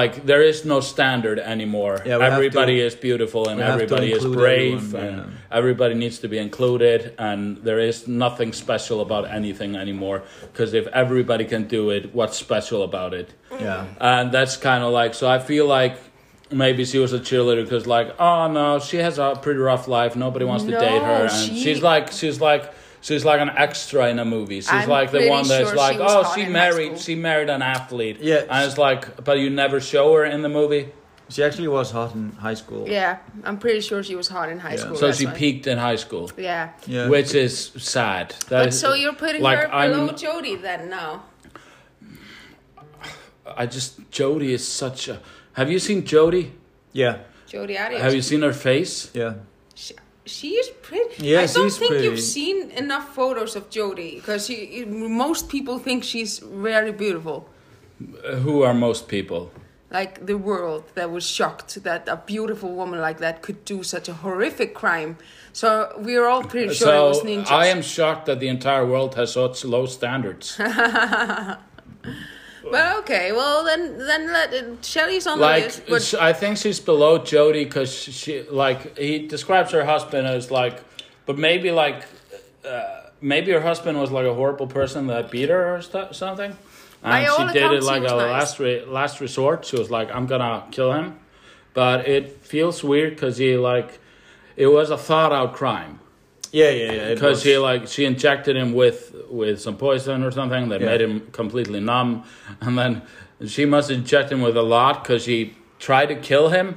Like there is no standard anymore. Yeah, we have everybody to- is beautiful and we have to everybody is include brave everyone, and yeah. everybody needs to be included and there is nothing special about anything anymore because if everybody can do it what's special about it Yeah. and that's kind of like so i feel like maybe she was a cheerleader because like oh no she has a pretty rough life nobody wants to No, date her and she- she's like she's like she's like an extra in a movie she's I'm like the pretty one that's sure she like was oh hot she in high married she school." married an athlete Yeah, and it's like but you never show her in the movie She actually was hot in high school. yeah, I'm pretty sure she was hot in high Yeah. school. so that's she why. peaked in high school Yeah. Yeah. which is sad. That But is- so you're putting like, her below I'm- Jody then now? I just Jody is such a. Have you seen Jody? Yeah. Jody Arias. Have you seen her face? Yeah. She, she is pretty. Yeah, I don't she's think pretty. you've seen enough photos of Jody because most people think she's very beautiful. Uh, Who are most people? Like the world that was shocked that a beautiful woman like that could do such a horrific crime. So we are all pretty sure it was so ninjas. I am shocked that the entire world has such low standards. Well, okay. Well, then, then let it, Shelley's on like the list. sh- I think she's below Jody because she like he describes her husband as like, but maybe like. Uh, Maybe her husband was like a horrible person that beat her or stu something, and By all she did it accounts, he like was a nice. last re- last resort. She was like, "I'm gonna kill him," but it feels weird because he like, it was a thought out crime Yeah, yeah, yeah. it because was. she like she injected him with with some poison or something that Yeah. made him completely numb and then she must inject him with a lot because she tried to kill him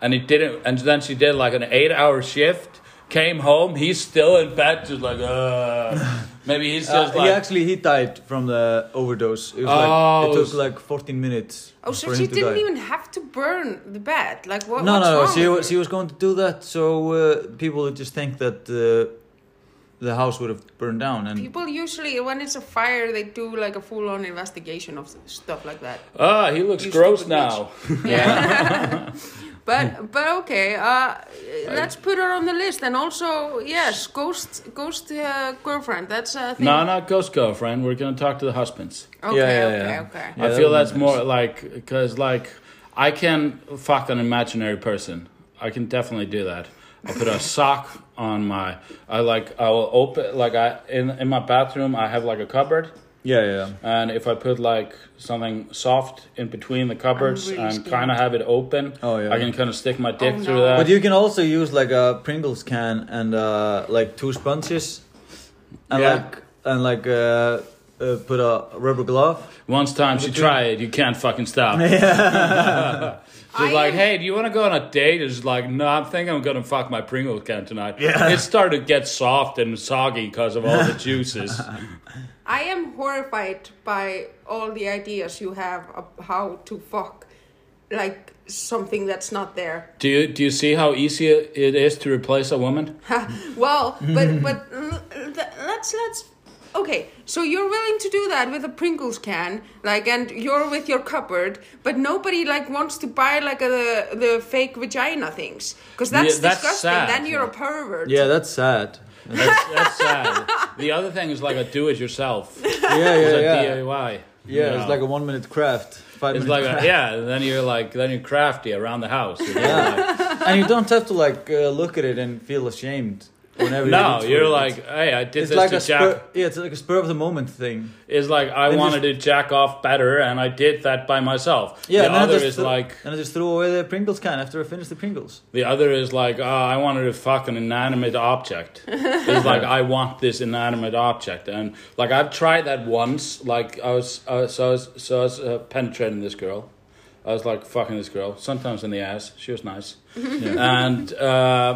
and he didn't and then she did like an eight hour shift came home he's still in bed just like uh maybe he's Uh, just he like actually he died from the overdose. It was Oh. like it took like 14 minutes. oh, so for she him to didn't die. even have to burn the bed. Like what? No, what's no, wrong no. She with was her? she was going to do that, so uh, people would just think that uh, the house would have burned down, and People usually, when it's a fire, they do like a full-on investigation of stuff like that. ah he looks You gross stupid now Hmm. But but okay, uh, let's put her on the list. And also, yes, ghost ghost uh, girlfriend. That's a thing. no not ghost girlfriend we're gonna talk to the husbands Okay, Yeah, yeah, okay, yeah. okay. Yeah, I that feel would be that's more like because like I can fuck an imaginary person. I can definitely do that. I put a sock on my. I like. I will open like I in in my bathroom. I have like a cupboard, yeah, yeah, and if I put like something soft in between the cupboards really and scared. kind of have it open, Oh, yeah. I can kind of stick my dick Oh, through no. that. But you can also use like a Pringles can and uh, like two sponges, and Yeah. like and like uh, uh, put a rubber glove. Once times you Between- try it, you can't fucking stop. Just I like, am- hey, do you want to go on a date? It's like, no, I think I'm gonna fuck my Pringle can tonight. Yeah. It started to get soft and soggy because of all the juices. I am horrified by all the ideas you have of how to fuck, like something that's not there. do you do you see how easy it is to replace a woman? well, but but l- l- let's let's okay, so you're willing to do that with a Pringles can, like, and you're with your cupboard, but nobody like wants to buy like a, the the fake vagina things because Yeah, that's that's disgusting. sad. Then you're a pervert. Yeah, that's sad. yeah, That's, that's sad. The other thing is like a do-it-yourself. yeah, It's a yeah. DIY. you Yeah, it's know. like a one minute craft. Five It's minute like craft. a, yeah. and Then you're like then you're crafty around the house. you know, like- and you don't have to like uh, look at it and feel ashamed whenever no, reach for you're it. like hey, I did it's, this like to a Jack. spur, yeah, it's like a spur of the moment thing. It's like I Then wanted to jack off better, and I did that by myself. Yeah, the and then I other just is threw- like and I just threw away the Pringles can after I finished the Pringles. the other is like oh, I wanted to fuck an inanimate object. It's like I want this inanimate object, and like I've tried that once. Like I was, uh, so I was, so I was uh, penetrating this girl. I was like fucking this girl, sometimes in the ass. She was nice, and. Uh,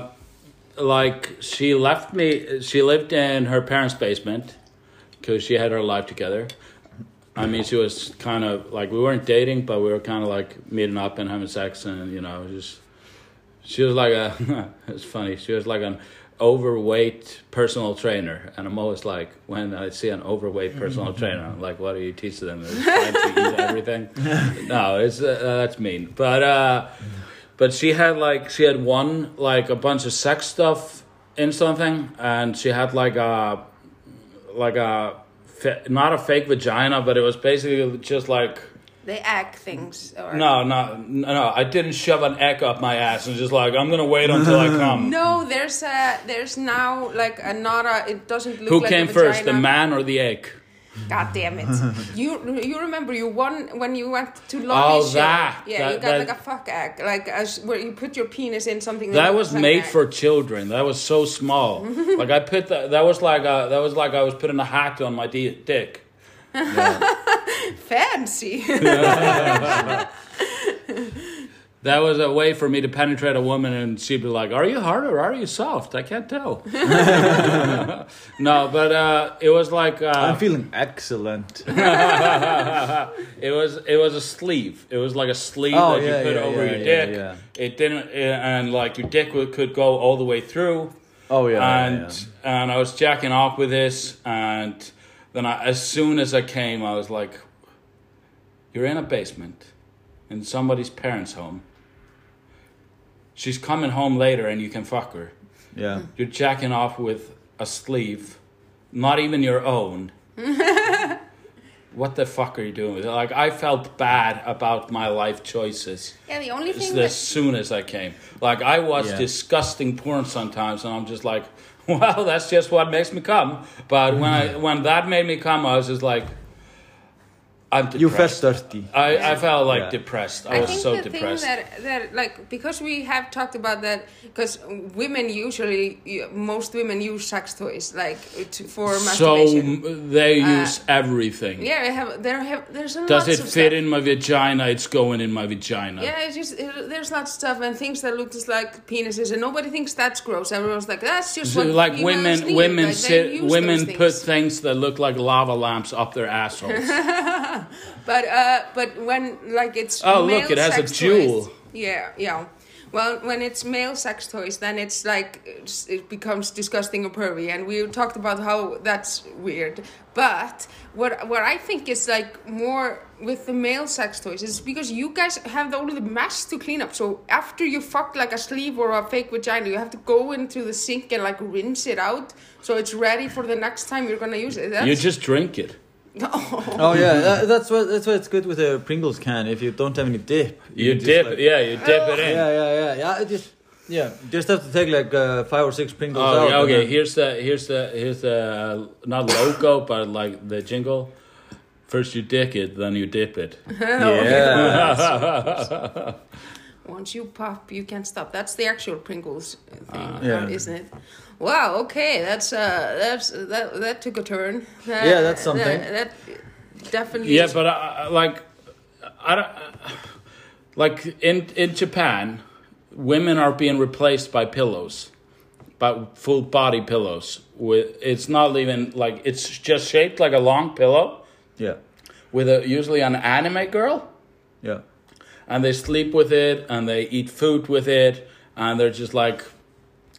like she left me she lived in her parents basement because she had her life together i mean she was kind of like we weren't dating but we were kind of like meeting up and having sex and you know just she was like a it's funny she was like an overweight personal trainer and i'm always like when i see an overweight personal trainer i'm like what do you teach them They're trying to eat everything no it's uh, that's mean but uh but she had like she had one like a bunch of sex stuff in something and she had like a like a fa- not a fake vagina but it was basically just like They egg things. Or... no no no no, i didn't shove an egg up my ass and just like i'm gonna wait until i come No, there's a there's now like a not a. It doesn't look. who like came a first the vagina. man or the egg God damn it! you you remember you won when you went to Lolly Show? Oh, that. yeah, That- you got that- like a fuck egg, like as where you put your penis in something. that looks was like made an egg. for children that was so small like i put that that was like a, that was like i was putting a hat on my d- dick fancy. That was a way for me to penetrate a woman, and she'd be like, "Are you hard or are you soft? I can't tell." no, but uh, it was like uh, I'm feeling excellent. it was it was a sleeve. It was like a sleeve Oh, that yeah, you put yeah, over yeah, your yeah, dick. yeah. It didn't, uh, and like your dick would, could go all the way through. Oh yeah, yeah, and yeah. and I was jacking off with this, and then I, as soon as I came, I was like, "You're in a basement, in somebody's parents' home. She's coming home later, and you can fuck her. yeah. You're jacking off with a sleeve, not even your own." What the fuck are you doing? with it? Like I felt bad about my life choices yeah, the only thing as that soon as I came. Like I watch Yeah. disgusting porn sometimes, and I'm just like, well, that's just what makes me come. But when I Mm-hmm. when that made me come, I was just like, I'm depressed. You felt thirsty. I, I felt like Yeah. depressed. I, I was think oh, so the depressed. thing that that like because we have talked about that because women usually you- most women use sex toys like to, for so masturbation. uh, m- they use everything. yeah, I have there have there's a Does lots it of fit stuff. in my vagina? It's going in my vagina. Yeah, it's just it, there's lots of stuff and things that look just like penises, and nobody thinks that's gross. Everyone's like, that's just So, what like females women, need. women like, they sit, use women those things. put things that look like lava lamps up their assholes. But uh, but when like it's Oh, look, male it has a sex jewel. Toys, yeah, yeah. Well, when it's male sex toys, then it's like it's, it becomes disgusting or pervy, and we talked about how that's weird. But what what I think is like more with the male sex toys is because you guys have only the mess to clean up. So after you fuck like a sleeve or a fake vagina, you have to go into the sink and like rinse it out so it's ready for the next time you're gonna use it. That's, you just drink it. Oh yeah, that, that's what that's why it's good with a Pringles can if you don't have any dip. You can just, dip, like- yeah, you dip it in. yeah, yeah, yeah, yeah. I just yeah, just have to take like uh, five or six Pringles Oh, out. yeah, and okay. then- Here's the here's the here's the uh, not logo, but like the jingle. First you dick it, then you dip it. yeah. Once you pop, you can't stop. That's the actual Pringles thing, Ah. Yeah. isn't it? Wow. Okay, that's uh, that's that that took a turn. That- Yeah, that's something. That, that definitely. yeah, is- but I, I- like, I don't uh, like in in Japan, women are being replaced by pillows, by full body pillows. With it's not even like it's just shaped like a long pillow yeah, with a usually an anime girl. yeah. and they sleep with it and they eat food with it and they're just like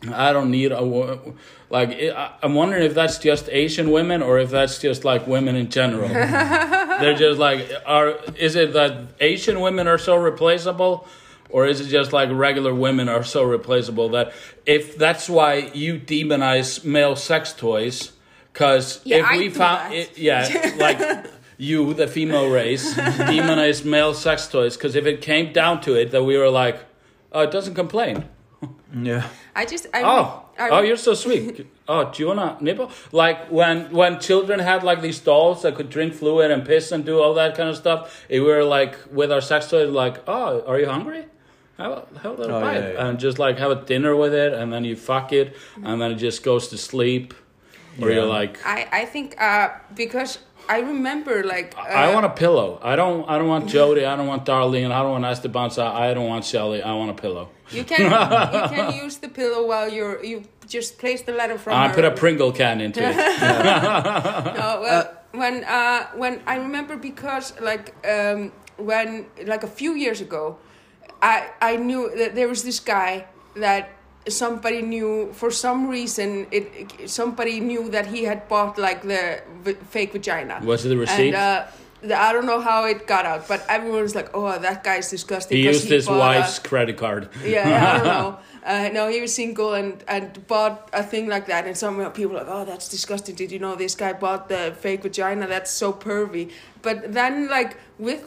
I don't need a wo- like. i I- I'm wondering if that's just Asian women or if that's just like women in general. They're just like, are is it that Asian women are so replaceable, or is it just like regular women are so replaceable that if that's why you demonize male sex toys? Because Yeah, if I we do found that. it, yeah, like you, the female race, demonize male sex toys. Because if it came down to it, that we were like, oh, it doesn't complain. Yeah. I just I Oh, I, oh, you're so sweet. Oh, do you wanna nipple? Like when when children had like these dolls that could drink fluid and piss and do all that kind of stuff. It, we were like with our sex toys, like, oh, are you hungry? Have a, have a little Oh, bite yeah, yeah. and just like have a dinner with it, and then you fuck it, and then it just goes to sleep. Or you're Yeah. like, I I think uh because I remember like uh, I want a pillow. I don't. I don't want Jody. I don't want Darlene. I don't want Esther Bonsa. I don't want Shelly. I want a pillow. you can you can use the pillow while you're you just place the letter from. Ah, I her. put a Pringle can into it. No, well, when uh, when I remember because like um, when like a few years ago, I I knew that there was this guy that somebody knew for some reason it somebody knew that he had bought like the v- fake vagina. Was it the receipt? And, uh, the, I don't know how it got out, but everyone was like, "Oh, that guy's disgusting." He 'cause used his bought a- wife's credit card. yeah, yeah, I don't know. Uh, no, he was single and, and bought a thing like that, and some people are like, oh, that's disgusting. Did you know this guy bought the fake vagina? That's so pervy. But then, like with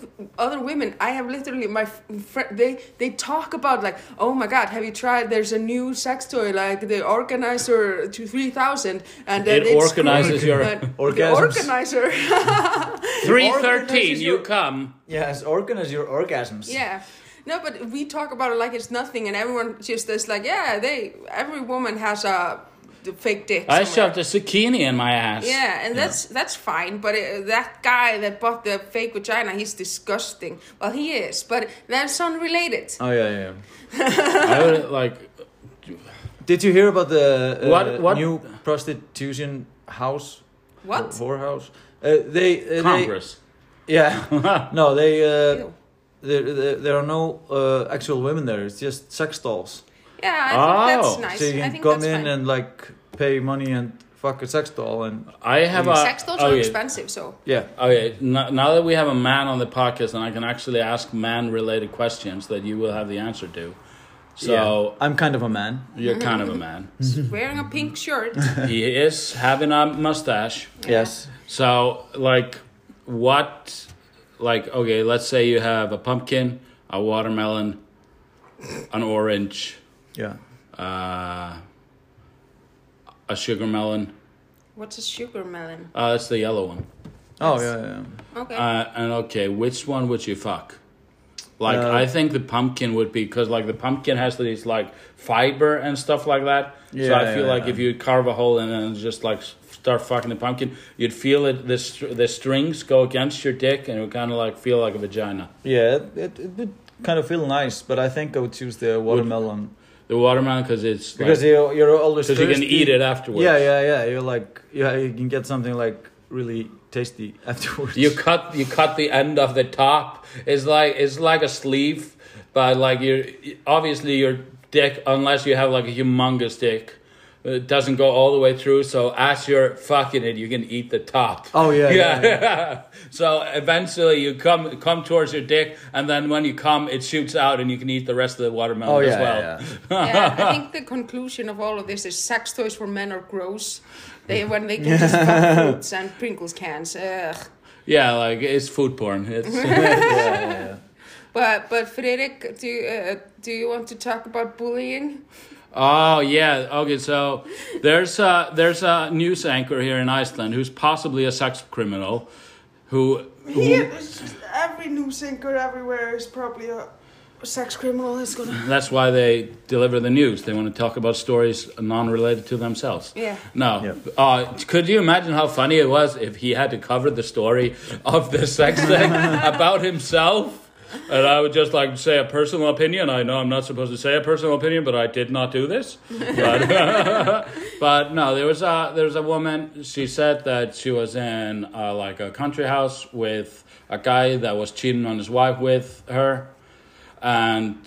other women, I have literally my friend. They they talk about like, oh my god, have you tried? There's a new sex toy like the organizer to three thousand, and then It it's organizes great, your and the orgasms. organizer. 313 Organizes you your- come Yes, organize your orgasms. Yeah. No, but we talk about it like it's nothing, and everyone just is like, yeah, they. Every woman has a d- fake dick. i somewhere. shoved a zucchini in my ass Yeah, and that's that's fine. But it, that guy that bought the fake vagina, he's disgusting. Well, he is, but that's unrelated. Oh yeah, yeah. i would like Did you hear about the uh, What- what- new prostitution house? What? Whorehouse? Uh, they, uh, they congress yeah. no, they uh, Ew. there, there there are no uh, actual women there. It's just sex dolls. Yeah, I Oh, think that's nice. So you I can think come that's in fine. and like pay money and fuck a sex doll and i have a Oh, Sex oh, dolls are okay, expensive, so yeah. okay now, now that we have a man on the podcast and i can actually ask man related questions that you will have the answer to so Yeah. I'm kind of a man. you're kind of a man wearing a pink shirt. he is having a mustache Yes. So, like, what, like, okay, let's say you have a pumpkin, a watermelon, an orange, Yeah. uh, a sugar melon. What's a sugar melon? Uh, that's the yellow one. Oh yeah, yeah. yeah. Okay. Uh, and okay, which one would you fuck? Like, Uh, I think the pumpkin would be because like the pumpkin has these like fiber and stuff like that. so Yeah, I feel yeah, like yeah. if you carve a hole and then just like s- start fucking the pumpkin, you'd feel it. The str- the strings go against your dick, and it would kind of like feel like a vagina. Yeah, it, it, it would kind of feel nice, but I think I would choose the watermelon The watermelon because it's because like, you're you're always 'cause you can thirsty. eat it afterwards. Yeah, yeah, yeah. You're like yeah, you can get something like really tasty afterwards. You cut you cut the end of the top. It's like it's like a sleeve, but like you obviously your dick, unless you have like a humongous dick, it doesn't go all the way through. So as you're fucking it, you can eat the top. Oh, yeah, yeah, so eventually you come come towards your dick, and then when you come, it shoots out, and you can eat the rest of the watermelon oh yeah, as well. yeah, yeah. yeah, I think the conclusion of all of this is sex toys for men are gross. They when they can just fuck fruits and Pringles cans. Ugh. Yeah, like it's food porn. It's yeah, yeah, yeah. But but Fredrik, do you, uh, do you want to talk about bullying? Oh yeah. Okay, so there's a there's a news anchor here in Iceland who's possibly a sex criminal, who, who every news anchor everywhere is probably a sex criminal. Is gonna. that's why they deliver the news. They want to talk about stories non-related to themselves. Yeah. No. Yeah. Uh, could you imagine how funny it was if he had to cover the story of the sex thing about himself? And I would just like to say a personal opinion. I know I'm not supposed to say a personal opinion, but I did not do this. But, but no, there was a there was a woman. She said that she was in uh, like a country house with a guy that was cheating on his wife with her, and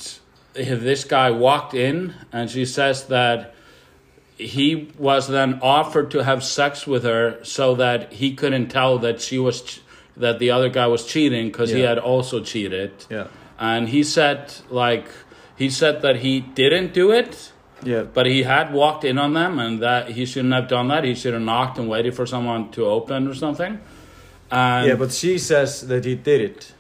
this guy walked in, and she says that he was then offered to have sex with her so that he couldn't tell that she was ch- that the other guy was cheating because he Yeah. had also cheated. Yeah. And he said like he said that he didn't do it, Yeah. but he had walked in on them and that he shouldn't have done that. He should have knocked and waited for someone to open or something. And um, yeah, but she says that he did it.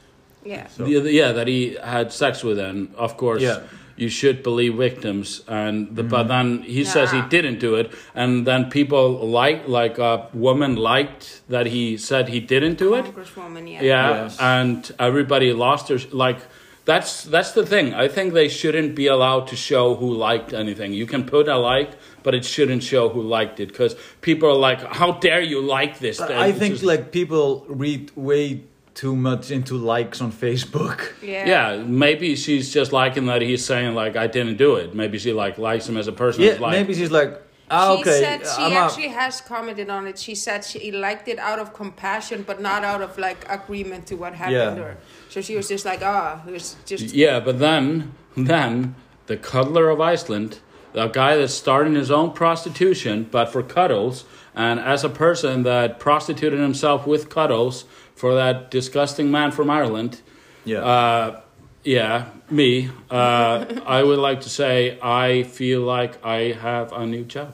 Yeah. the, the- yeah, that he had sex with her. And of course, Yeah. Mm-hmm. you should believe victims. And the, but then he says he Yeah. didn't do it, and then people like like a woman liked that he said he didn't do it. Congresswoman, yeah. Yeah, Yes. and everybody lost their like. That's that's the thing. I think they shouldn't be allowed to show who liked anything. You can put a like, but it shouldn't show who liked it because people are like, "How dare you like this?" But thing?" I It's think just- like people read way too much into likes on Facebook. Yeah. Yeah, maybe she's just liking that he's saying like I didn't do it. Maybe she like likes him as a person. Yeah, It's like, maybe she's like, ah, she okay, said she I'm out." actually has commented on it. She said she liked it out of compassion, but not out of like agreement to what happened to Yeah. her. So she was just like, ah, it was just Yeah, but then then the cuddler of Iceland, the guy that's starting his own prostitution, but for cuddles, and as a person that prostituted himself with cuddles for that disgusting man from Ireland. Yeah. Uh, yeah, me. Uh, I would like to say I feel like I have a new job.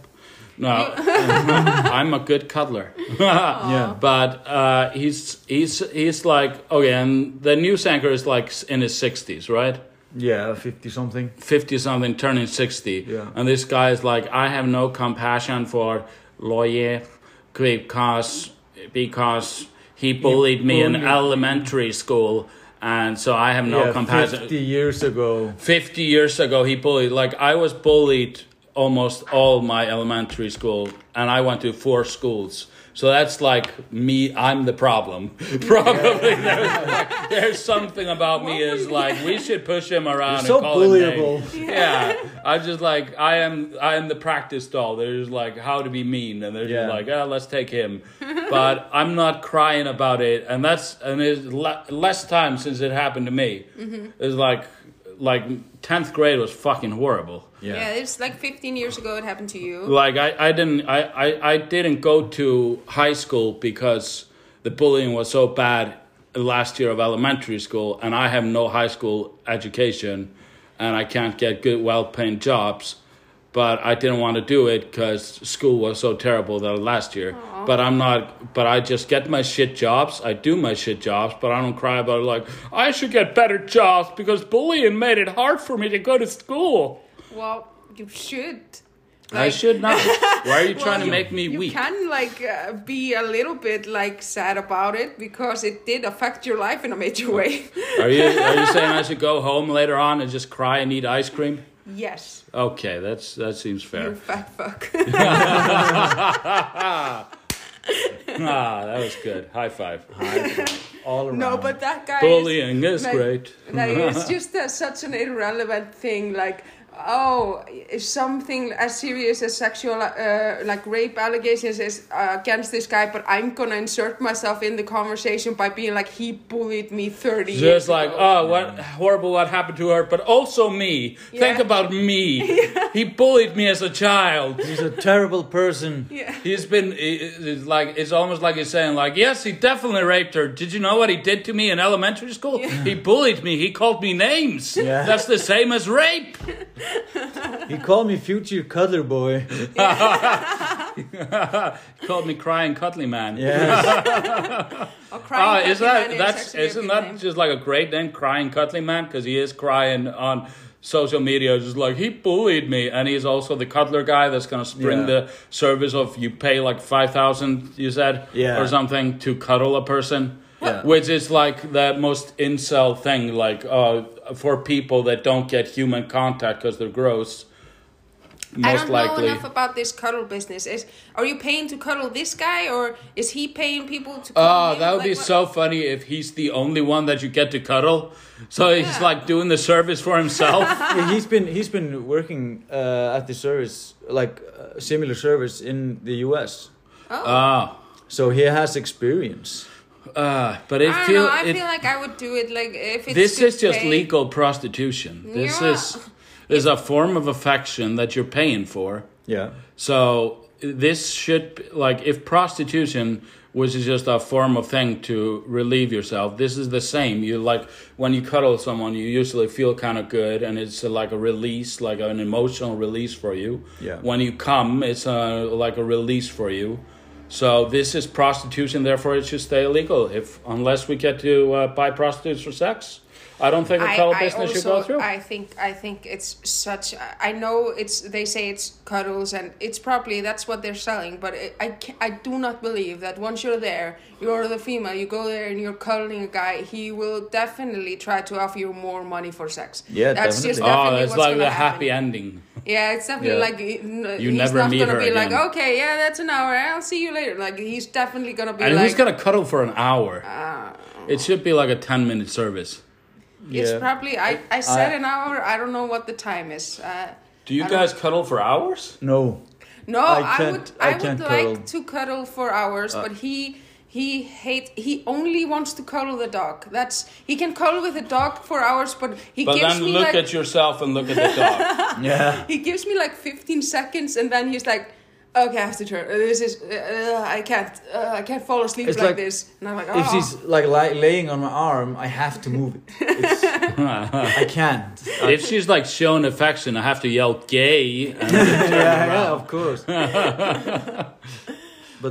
No, I'm a good cuddler. yeah. But uh, he's he's he's like okay, and the news anchor is like s- in his sixties, right? Yeah, 50 something. Fifty something, turning sixty, Yeah. and this guy is like, I have no compassion for lawyer because because he bullied me in bullied- elementary school, and so I have no yeah, compassion. 50 years ago. 50 years ago he bullied like i was bullied almost all my elementary school and i went to four schools so that's like me i'm the problem probably there's, like, there's something about me is like we should push him around and so call him bullyable. names. yeah i'm just like i am i am the practice doll there's like how to be mean and there's just Yeah. like ah, let's take him but i'm not crying about it and that's and it's le- less time since it happened to me it's like like 10th grade was fucking horrible Yeah. Yeah, it's like 15 years ago it happened to you. like i, I didn't I, I, I didn't go to high school because the bullying was so bad last year of elementary school and i have no high school education and i can't get good well-paying jobs but i didn't want to do it because school was so terrible that last year but i'm not but i just get my shit jobs i do my shit jobs but i don't cry about it like i should get better jobs because bullying made it hard for me to go to school Well, you should. I Like- should not. Why are you trying to you- make me you weak? can like uh, be a little bit like sad about it because it did affect your life in a major way. Are you are you saying I should go home later on and just cry and eat ice cream? yes, Okay, that's that seems you fair. fat fuck. Ah, that was good. High five. All around. no, but that guy. Is, Bullying is like, great. like, it's just uh, such an irrelevant thing. Like, oh, if something as serious as sexual, uh, like rape allegations is uh, against this guy, but I'm gonna insert myself in the conversation by being like, he bullied me 30 years Just like, ago. oh, what horrible what happened to her, but also me. Think Yeah. about me. He bullied me as a child. He's a terrible person. yeah. He's been he- it's like it's almost like he's saying like yes he definitely raped her. Did you know what he did to me in elementary school? He bullied me. He called me names. Yeah. That's the same as rape. He called me future cuddler boy. he called me crying cuddly man. Yeah. Ah, Or crying is that Batman is that's actually a isn't good that name. just like a great name, crying cuddly man? Because he is crying on social media, just like he bullied me, and he's also the cuddler guy that's gonna spring Yeah. the service of you pay like five thousand, you said, Yeah. or something to cuddle a person, Yeah. which is like the most incel thing, like uh, for people that don't get human contact because they're gross. Most I don't likely, know enough about this cuddle business. Is are you paying to cuddle this guy, or is he paying people to? cuddle Oh, him? that would Like, be what- so funny if he's the only one that you get to cuddle. So he's Yeah. like doing the service for himself. Yeah, he's been he's been working uh, at the service like uh, similar service in the US. Ah, So he has experience. ah, but it I don't feel know. I it, feel like I would do it. Like if it's this to is just pay- legal prostitution. This Yeah. is is a form of affection that you're paying for. Yeah. So this should like if prostitution which is just a form of thing to relieve yourself. This is the same. You like when you cuddle someone, you usually feel kind of good, and it's like a release, like an emotional release for you. Yeah. When you come, it's a, like a release for you. So this is prostitution. Therefore, it should stay illegal if unless we get to uh, buy prostitutes for sex. I don't think a I, cuddle I business also, should go through. I think I think it's such. I- I know it's. They say it's cuddles, and it's probably that's what they're selling. But it, I ca I do not believe that once you're there, you're the female. You go there and you're cuddling a guy. He will definitely try to offer you more money for sex. Yeah, that's definitely. just oh, definitely it's what's like gonna the happen. happy ending. Yeah, it's definitely Yeah. like n- You he's never not meet gonna her be like, again. okay, yeah, that's an hour. I'll see you later. Like he's definitely gonna be And like, who's gonna cuddle for an hour? "Ah." It should be like a ten minute service. it's Yeah. probably I I said I- an hour. I don't know what the time is. Uh, Do you I don't- guys cuddle for hours? No. No, I I, can't- would I I, can't would cuddle. like to cuddle for hours, but he he hates he only wants to cuddle the dog. That's he can cuddle with the dog for hours, but he But gives then me look like at yourself and look at the dog. Yeah. he gives me like 15 seconds and then he's like okay, I have to turn. This is uh, I can't uh, I can't fall asleep It's like, like- this. And I'm like, If oh. she's like li- laying on my arm, I have to move it. It's, I can't. if she's like showing affection, I have to yell gay. And yeah, yeah, of course. but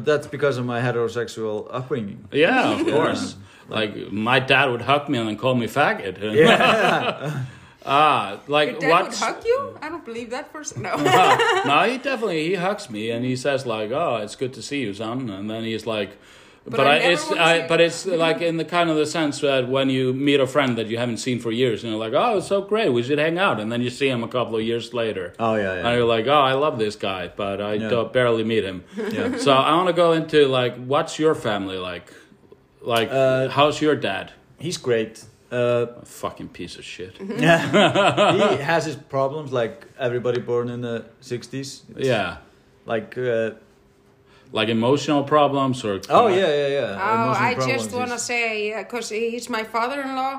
that's because of my heterosexual upbringing. yeah, of course. Like my dad would hug me and then call me faggot. Yeah. Ah, Your like dad what? would hug you? I don't believe that person. No. Ah, no, he definitely he hugs me and he says like, "Oh, it's good to see you, son." And then he's like, "But, I I, never it's wanna I, see but you." it's like in the kind of the sense that when you meet a friend that you haven't seen for years, and you're like, "Oh, it's so great, we should hang out," and then you see him a couple of years later. Oh, yeah, yeah. And you're like, "Oh, I love this guy, but I Yeah. don't barely meet him." Yeah. So I want to go into like, what's your family like? Like, Uh, how's your dad? He's great. Uh, A fucking piece of shit. yeah. he has his problems like everybody born in the 60s. It's yeah. Like, uh, Like emotional problems or Uh, oh, yeah, yeah, yeah. Oh, Emotional I problems just want to is- say, because he's my father-in-law.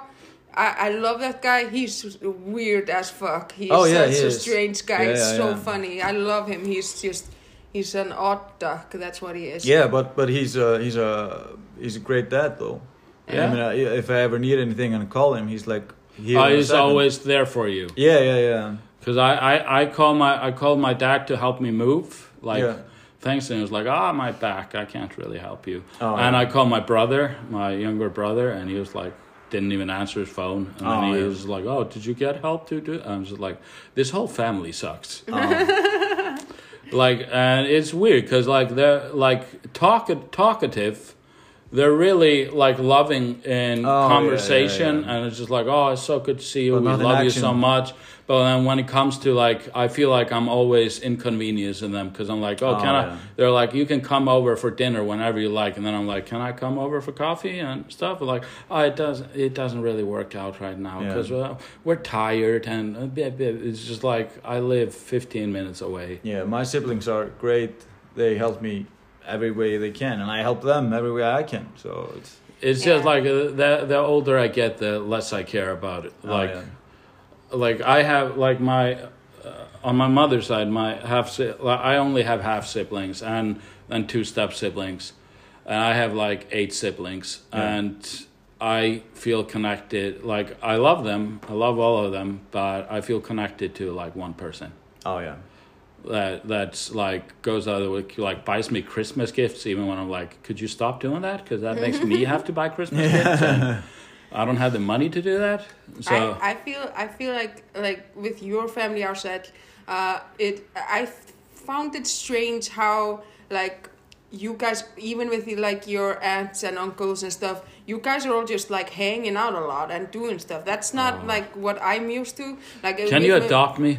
I, I love that guy. He's weird as fuck. He's Oh, yeah, such he a is. strange guy. Yeah, it's yeah, so yeah. funny. I love him. He's just, he's an odd duck. That's what he is. Yeah, but but he's a he's a he's a great dad though. Yeah. I mean, I, if I ever need anything and call him, he's like here. Oh, in a he's second. always there for you. Yeah, yeah, yeah. Because I, I, I call my I called my dad to help me move like Yeah. things and he was like ah my back I can't really help you Oh. and I called my brother my younger brother and he was like didn't even answer his phone and Oh, then he yeah. was like oh did you get help to do I'm just like this whole family sucks Oh, like and it's weird because like they're like talk talkative they're really like loving in Oh, yeah, yeah, conversation yeah. and it's just like oh it's so good to see you But we not in love you action. so much but then when it comes to like i feel like i'm always inconveniencing them because i'm like oh, Oh, can yeah. i they're like you can come over for dinner whenever you like and then i'm like can i come over for coffee and stuff They're like oh it doesn't it doesn't really work out right now Yeah. because uh, we're tired and uh, blah, blah. it's just like i live 15 minutes away yeah. My siblings are great. They help me every way they can, and I help them every way I can. So it's It's just Yeah. like uh, the the older I get, the less I care about it. oh, Like yeah. like I have like my uh, on my mother's side, my half si- like, I only have half siblings and and two step siblings, and I have like eight siblings, Yeah. and I feel connected. Like I love them, I love all of them, but I feel connected to like one person oh yeah, that that's like goes out of the way, like buys me Christmas gifts, even when I'm like, could you stop doing that? Because that makes me have to buy Christmas gifts. And I don't have the money to do that. So I, I feel I feel like like with your family outside, uh, it I found it strange how like you guys even with like your aunts and uncles and stuff you guys are all just like hanging out a lot and doing stuff that's not like what i'm used to like Oh. can with you my- adopt me?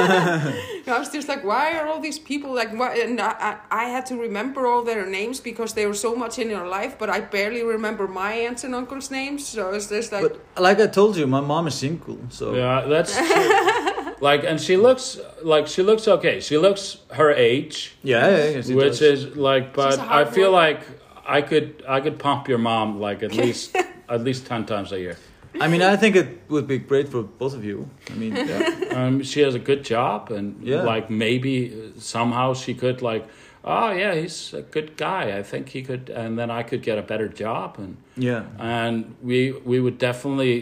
I was just like, why are all these people like? Why? And I, I I had to remember all their names because they were so much in your life, but I barely remember my aunts and uncles' names. So it's just like, but like I told you, my mom is single. So Yeah, that's true. like, and she looks like she looks okay. She looks her age, yeah, yeah, yeah, she which does. is like, but a I hard feel worker. like I could I could pump your mom like at least at least ten times a year. I mean, I think it would be great for both of you. I mean, yeah. um, she has a good job and Yeah. like maybe somehow she could like oh yeah he's a good guy i think he could and then i could get a better job and yeah. and we we would definitely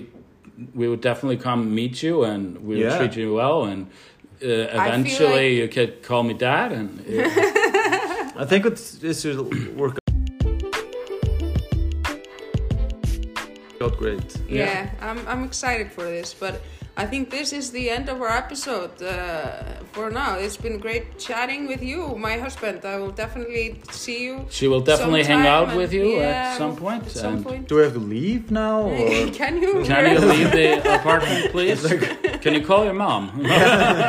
we would definitely come meet you and we would Yeah. treat you well and uh, eventually you could call me dad and uh, I think it's this should work out great. Yeah. yeah, I'm, I'm excited for this but i think this is the end of our episode uh, for now it's been great chatting with you my husband i will definitely see you she will definitely hang sometime out and- with you yeah, at some point at some and point Do we have to leave now? Or? can you Can you leave the apartment, please? Can you call your mom?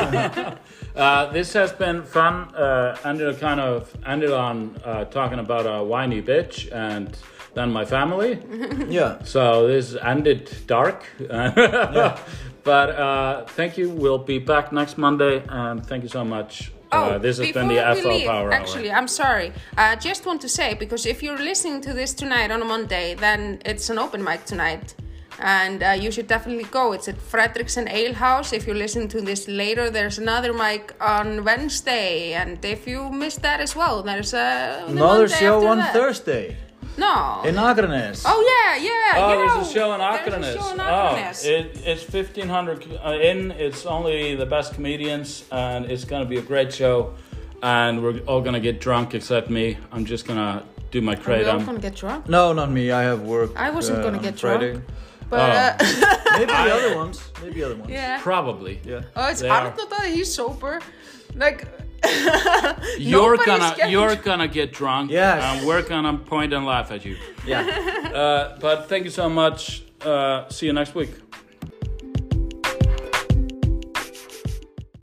uh, this has been fun. Uh, ended kind of ended on uh, talking about a whiny bitch and then my family. yeah. So this ended dark. But uh, thank you. We'll be back next Monday. And thank you so much. uh, this has been the Oh, before we FL leave, Power Actually, Hour. I'm sorry. I just want to say because if you're listening to this tonight on a Monday, then it's an open mic tonight, and uh, you should definitely go. It's at Fredrickson Ale House. If you listen to this later, there's another mic on Wednesday, and if you missed that as well, there's a the Another Monday show after on that. Thursday No. in Akranes. Oh yeah, yeah. Oh, you there's know, a show in There's Akranes. a show in Oh, Akranes. it, it's 1500 c- uh, in. It's only the best comedians, and it's going to be a great show. And we're all going to get drunk except me. I'm just going to do my Are we all kratom. gonna get drunk. No, not me. I have work. I wasn't uh, gonna on get Friday. drunk. oh. But uh, Maybe the other ones. Maybe the other ones. yeah. Probably. Yeah. Oh, it's They are- Arthur that he's sober. Like You're nobody's gonna getting- you're gonna get drunk. Yes. And we're gonna point and laugh at you. Yeah. Uh, but thank you so much. Uh, see you next week.